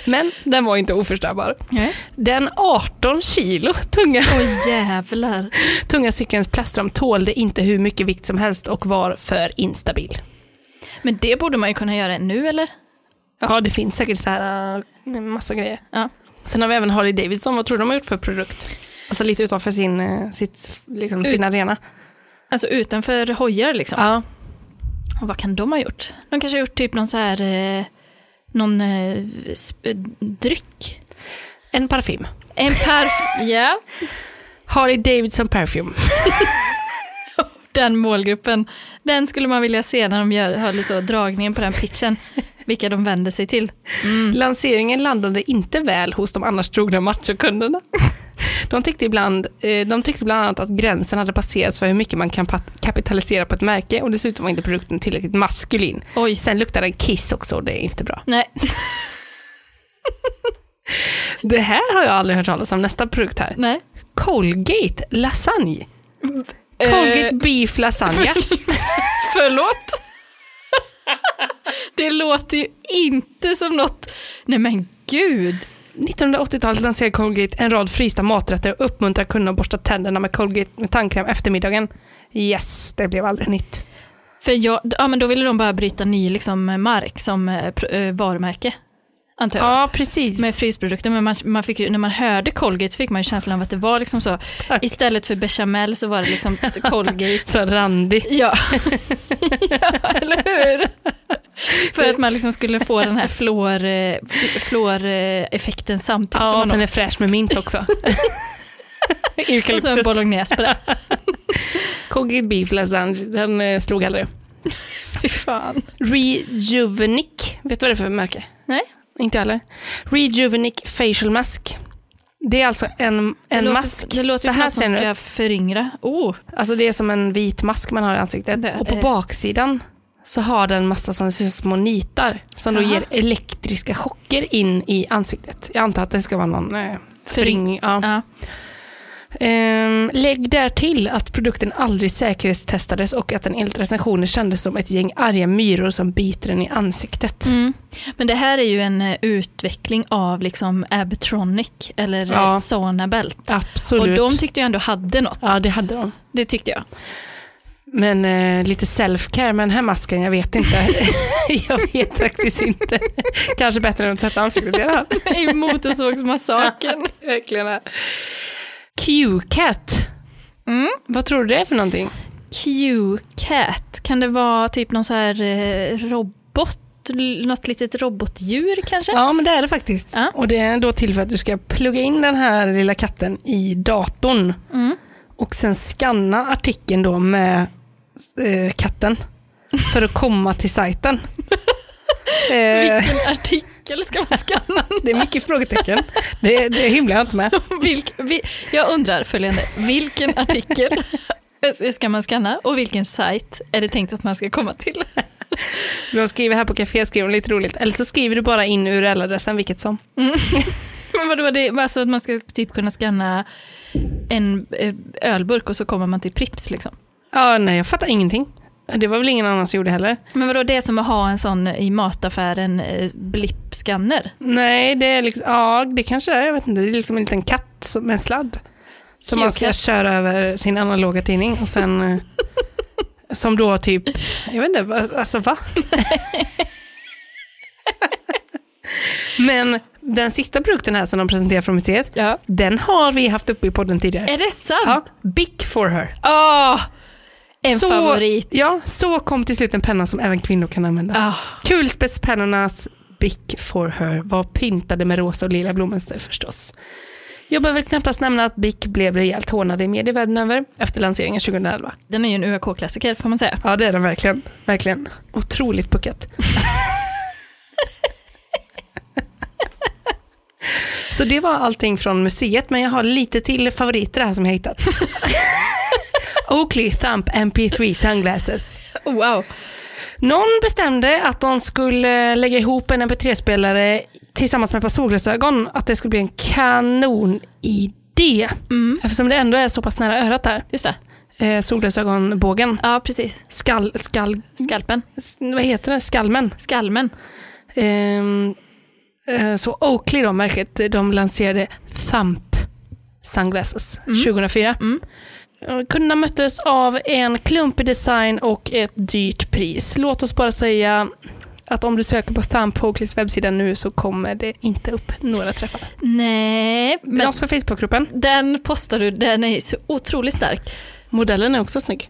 Men den var inte oförstörbar.
Nej.
Den 18 kilo tunga
Åh jävlar.
Tunga cykelns plastram tålde inte hur mycket vikt som helst och var för instabil.
Men det borde man ju kunna göra nu eller?
Ja, det finns säkert så här äh, massa grejer.
Ja.
Sen har vi även Harley Davidson. Vad tror du de har gjort för produkt? Alltså lite utanför sin, eh, sitt, liksom, sin arena.
Alltså utanför hojar liksom.
Ja.
Och vad kan de ha gjort? De kanske har gjort typ någon så här, eh, någon eh, sp- eh, dryck.
En parfym.
En perf... ja,
Harley Davidson Perfume.
den målgruppen. Den skulle man vilja se när de gör, hörde så, dragningen på den
(laughs)
pitchen. Vilka de vänder sig till.
Lanseringen landade inte väl hos de annars trogna machokunderna. (laughs) De tyckte, ibland, eh, de tyckte bland annat att gränsen hade passerats för hur mycket man kan pat- kapitalisera på ett märke och dessutom var inte produkten tillräckligt maskulin.
Oj.
Sen luktar den kiss också och det är inte bra.
Nej,
(laughs) Det här har jag aldrig hört talas om, nästa produkt här.
nej.
Colgate lasagne. Colgate
Eh,
beef (laughs) lasagne.
förlåt. det låter ju inte som något... Nej men gud.
1980-talet lanserade Colgate en rad frysta maträtter och uppmuntrar kunderna att borsta tänderna med Colgate med tandkräm efter middagen. Yes, det blev aldrig nytt.
För jag, ja, men då ville de bara bryta ny liksom, mark som eh, pr- eh, varumärke. Antar jag.
Ja, precis.
Med frysprodukter, men man, man fick ju, när man hörde Colgate fick man ju känslan av att det var liksom så.
Tack.
Istället för bechamel så var det
(laughs)
liksom Colgate.
Så randig.
Ja. (laughs) ja, eller hur? För att man liksom skulle få den här fluor, eh, fl- fluoreffekten samtidigt som
Ja,
man
sen
åt.
är fräsch med mint också. (laughs)
Och så en
Eukalyptus.
bolognese på det.
Colgate beef lasagne, den eh, slog aldrig.
(laughs) Fy fan.
Rejuvenic, vet du vad det är för märke?
Nej.
Inte jag heller. Rejuvenic facial mask. Det är alltså en, en
det
mask.
Låter, det låter
så
som
här
något
ser
som
den
ska
ut.
föryngra. Oh,
Alltså det är som en vit mask man har i ansiktet.
Det-
och på
eh.
baksidan så har den massa som ser ut som små nitar som då
Aha.
ger elektriska chocker in i ansiktet. Jag antar att det ska vara någon eh, föryng. Ja.
ja.
Ehm, lägg där till att produkten aldrig säkerhetstestades och att den enligt recensioner kändes som ett gäng arga myror som biter den i ansiktet.
Mm. Men det här är ju en eh, utveckling av liksom Abtronic eller
Ja.
ja. Sonabelt. Och
Absolut.
de tyckte jag ändå hade något.
ja, det hade de.
Det tyckte jag.
Men eh, lite self-care med den här masken, jag vet inte. (laughs) jag vet faktiskt inte. Kanske bättre än att tvätta ansiktet i alla fall.
(laughs) I motorsågsmassakern.
Verkligen. Q-cat.
Mm.
Vad tror du det är för någonting?
Q-cat, kan det vara typ någon så här eh, robot? L- Något litet robotdjur kanske?
Ja, men det är det faktiskt.
Ja.
Och det är då till för att du ska plugga in den här lilla katten i datorn
Mm.
och sen skanna artikeln då med eh, (laughs) katten för att komma till sajten. Eh,
Vilken artikel ska man
(laughs)
skanna?
det är mycket frågetecken. Det, det himlar jag inte med.
Vilk, vi, jag undrar följande, vilken artikel (laughs) ska man skanna och vilken sajt är det tänkt att man ska komma till?
De skriver här på café, skriver de lite roligt. Eller så skriver du bara in URL-adressen, vilket som.
Men vadå, det, alltså att man ska typ kunna skanna en eh, ölburk och så kommer man till Prips liksom.
Ja, nej, jag fattar ingenting. Det var väl ingen annan som gjorde heller.
Men vadå, det är som att ha en sån i mataffären eh, blippskanner.
Nej, det är liksom, ja, det kanske det är. Jag vet inte. Det är liksom en liten katt som- med en sladd. Som man ska
Q-cat.
köra över sin analoga tidning och sen (laughs) eh, som då typ, jag vet inte, va- alltså (laughs) va? Men den sista produkten här som de presenterar från museet,
Ja.
den har vi haft uppe i podden tidigare.
Är det
Ja,
sant?
Bic for her.
Ja. en
Så-
favorit.
Ja, så kom till slut en penna som även kvinnor kan använda.
Ah,
Kulspetspennornas Bic for her var pyntade med rosa och lila blommönster förstås. Jag behöver knappast nämna att Bic blev rejält hånade i media världen över efter lanseringen 2011.
den är ju en UAK-klassiker får man säga.
Ja, det är den verkligen. Verkligen. Otroligt (laughs) puckat. Så det var allting från museet, men jag har lite till favoriter här som jag hittat. (laughs) Oakley Thump MP3 Sunglasses.
(laughs) Oh, wow.
Någon bestämde att de skulle lägga ihop en mp3-spelare tillsammans med ett par solglasögon. Att det skulle bli en kanonidé. Eftersom det ändå är så pass nära örat där.
Mm, Just det.
Eh, solglasögonbågen.
Ja, precis.
Skall, skall,
Skalpen.
s- vad heter det? Skalmen.
Skalmen.
Ehm, eh, så Oakley då, märket, de lanserade Thump Sunglasses 2004. Eh, Kunderna möttes av en klumpig design och ett dyrt pris. Låt oss bara säga att om du söker på Thump på Oakleys webbsida nu så kommer det inte upp några träffar.
Nej,
Men
men
också Facebookgruppen.
den postar du, den är så otroligt stark.
Modellen är också snygg.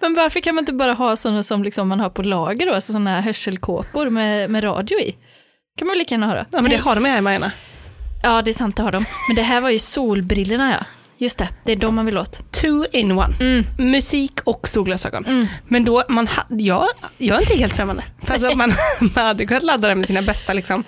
Men varför kan man inte bara ha sådana som liksom man har på lager då, alltså sådana här hörselkåpor med, med radio i? kan man väl lika gärna ha då?
Ja, men det har de här hemma gärna.
Ja, det är sant, det har de. Men det här var ju solbrillorna ja. Just det, det är de man vill åt.
Two in one.
Mm.
Musik och solglasögon. Men då, man ha, jag, jag är inte helt främmande. Fast att man, (laughs) man hade kunnat ladda det med sina bästa liksom,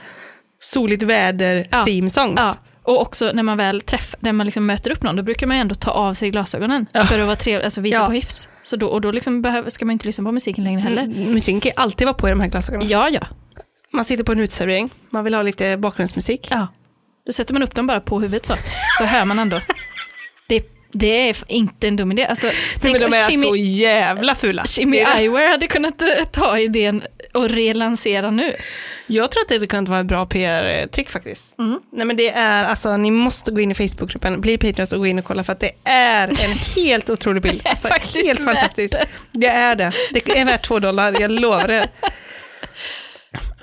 soligt väder
Ja.
theme songs.
Ja. Och också när man väl träffar, när man liksom möter upp någon, då brukar man ju ändå ta av sig glasögonen för att vara trevlig, alltså visa
Ja. Mm.
på hyfs. Så då, och då liksom behöver, ska man inte lyssna på musiken längre heller.
Musiken kan ju alltid vara på i de här glasögonen.
Ja, ja,
Man sitter på en uteservering, man vill ha lite bakgrundsmusik.
ja. Då sätter man upp dem bara på huvudet så, så hör man ändå. Det, det är f- inte en dum idé. Alltså, tänk
Men
om
de är
Shimmy,
så jävla fula.
Shimmy
Det är-
Eyewear hade kunnat eh, ta idén och relansera nu.
Jag tror att det hade kunnat vara ett bra PR-trick faktiskt.
Mm.
Nej men det är, alltså ni måste gå in i Facebookgruppen, bli Patreons och gå in och kolla för att det
(laughs)
är en helt otrolig bild. Alltså,
faktiskt
helt
värt det.
fantastiskt. Det är det. Det är värt två dollar, jag lovar er.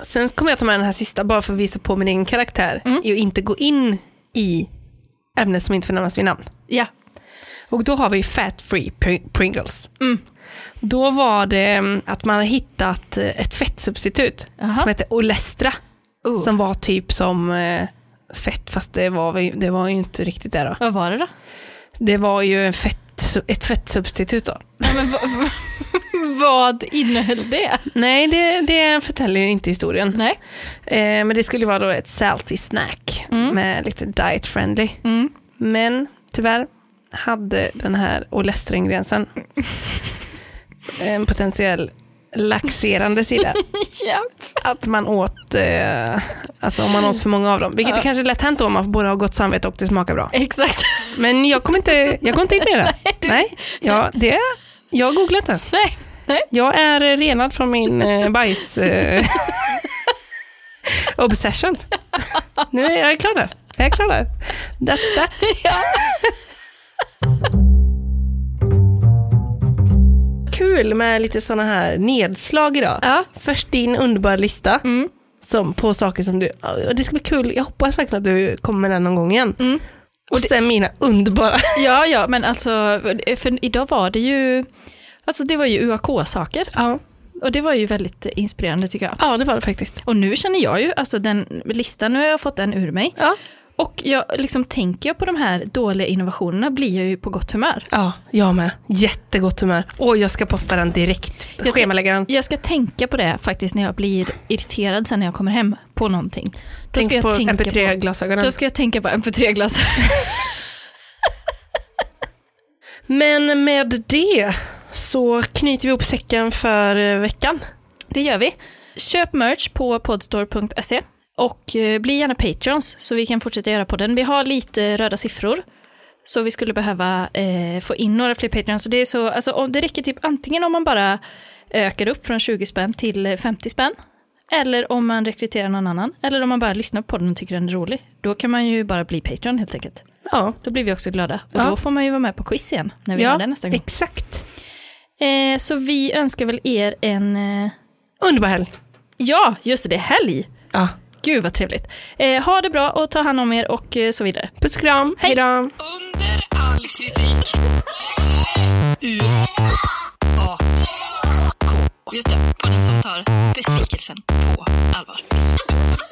Sen kommer jag ta med den här sista bara för att visa på min egen karaktär.
Mm.
Är att inte gå in i ämnet som inte får nämnas vid namn.
Ja,
Och då har vi fat free pr- Pringles.
Mm.
Då var det mm, att man har hittat eh, ett fettsubstitut
Jaha.
som heter Olestra.
Oh.
Som var typ som eh, fett, fast det var, vi- det var ju inte riktigt det då.
vad var det då?
Det var ju en fett su- ett fettsubstitut då?
Nej, men vad- vad- (laughs) vad innehöll det?
Nej, det, det förtäljer inte historien.
Nej.
Eh, men det skulle vara då ett salty snack
Mm.
med lite diet friendly. Men tyvärr hade den här olestringränsen en potentiell laxerande sida.
(laughs) Ja.
Att man åt, eh, alltså om man åt för många av dem. Vilket är kanske är lätt hänt då om man både har gott samvete och det smakar bra.
Exakt.
Men jag kommer inte, jag kommer inte in med
(laughs)
det. (laughs) Nej, ja, det, jag har googlat ens.
Nej. Nej.
Jag är eh, renad från min eh, bajs... Eh, (laughs) obsession. Nu är jag klar där. Jag är klar där. That's that. Kul med lite sådana här nedslag idag.
Ja.
Först din underbara lista
Mm.
som, på saker som du... och Det ska bli kul. Jag hoppas verkligen att du kommer med den någon gång igen.
Mm.
Och, sen mina
(laughs)
underbara...
Ja, ja, men alltså, för idag var det ju, alltså det var ju UAK-saker.
Ja.
Och det var ju väldigt inspirerande tycker jag.
ja, det var det faktiskt.
Och nu känner jag ju, alltså den listan, nu har jag fått den ur mig.
Ja.
Och jag, liksom, tänker jag på de här dåliga innovationerna blir jag ju på gott humör.
Ja, jag med. Jättegott humör. Och jag ska posta den direkt.
ska-
Schemalägga den.
Jag ska tänka på det faktiskt när jag blir irriterad sen när jag kommer hem på någonting. Då
Tänk
ska jag
på
tänka på-
mp3-glasögonen.
Då ska jag tänka på mp3-glass.
Men med det så knyter vi ihop säcken för eh, veckan.
Det gör vi. Köp merch på podstore.se och eh, bli gärna patrons så vi kan fortsätta göra podden. Vi har lite röda siffror så vi skulle behöva eh, få in några fler patrons. Så det, är så, alltså, om, det räcker typ antingen om man bara ökar upp från 20 spänn till eh, 50 spänn eller om man rekryterar någon annan eller om man bara lyssnar på podden och tycker den är rolig. Då kan man ju bara bli patron helt enkelt.
Ja,
Då blir vi också glada och
Ja.
då får man ju vara med på quiz igen när vi
Ja,
har det nästa gång.
exakt.
Eh, så vi önskar väl er en eh,
Underbar helg.
Ja, just det, det är helg.
Ja.
Gud vad trevligt. Eh, ha det bra och ta hand om er och eh, så vidare.
Puss och kram. Hej då.
Under all kritik. U-A-K. Just det, podden som tar besvikelsen på allvar.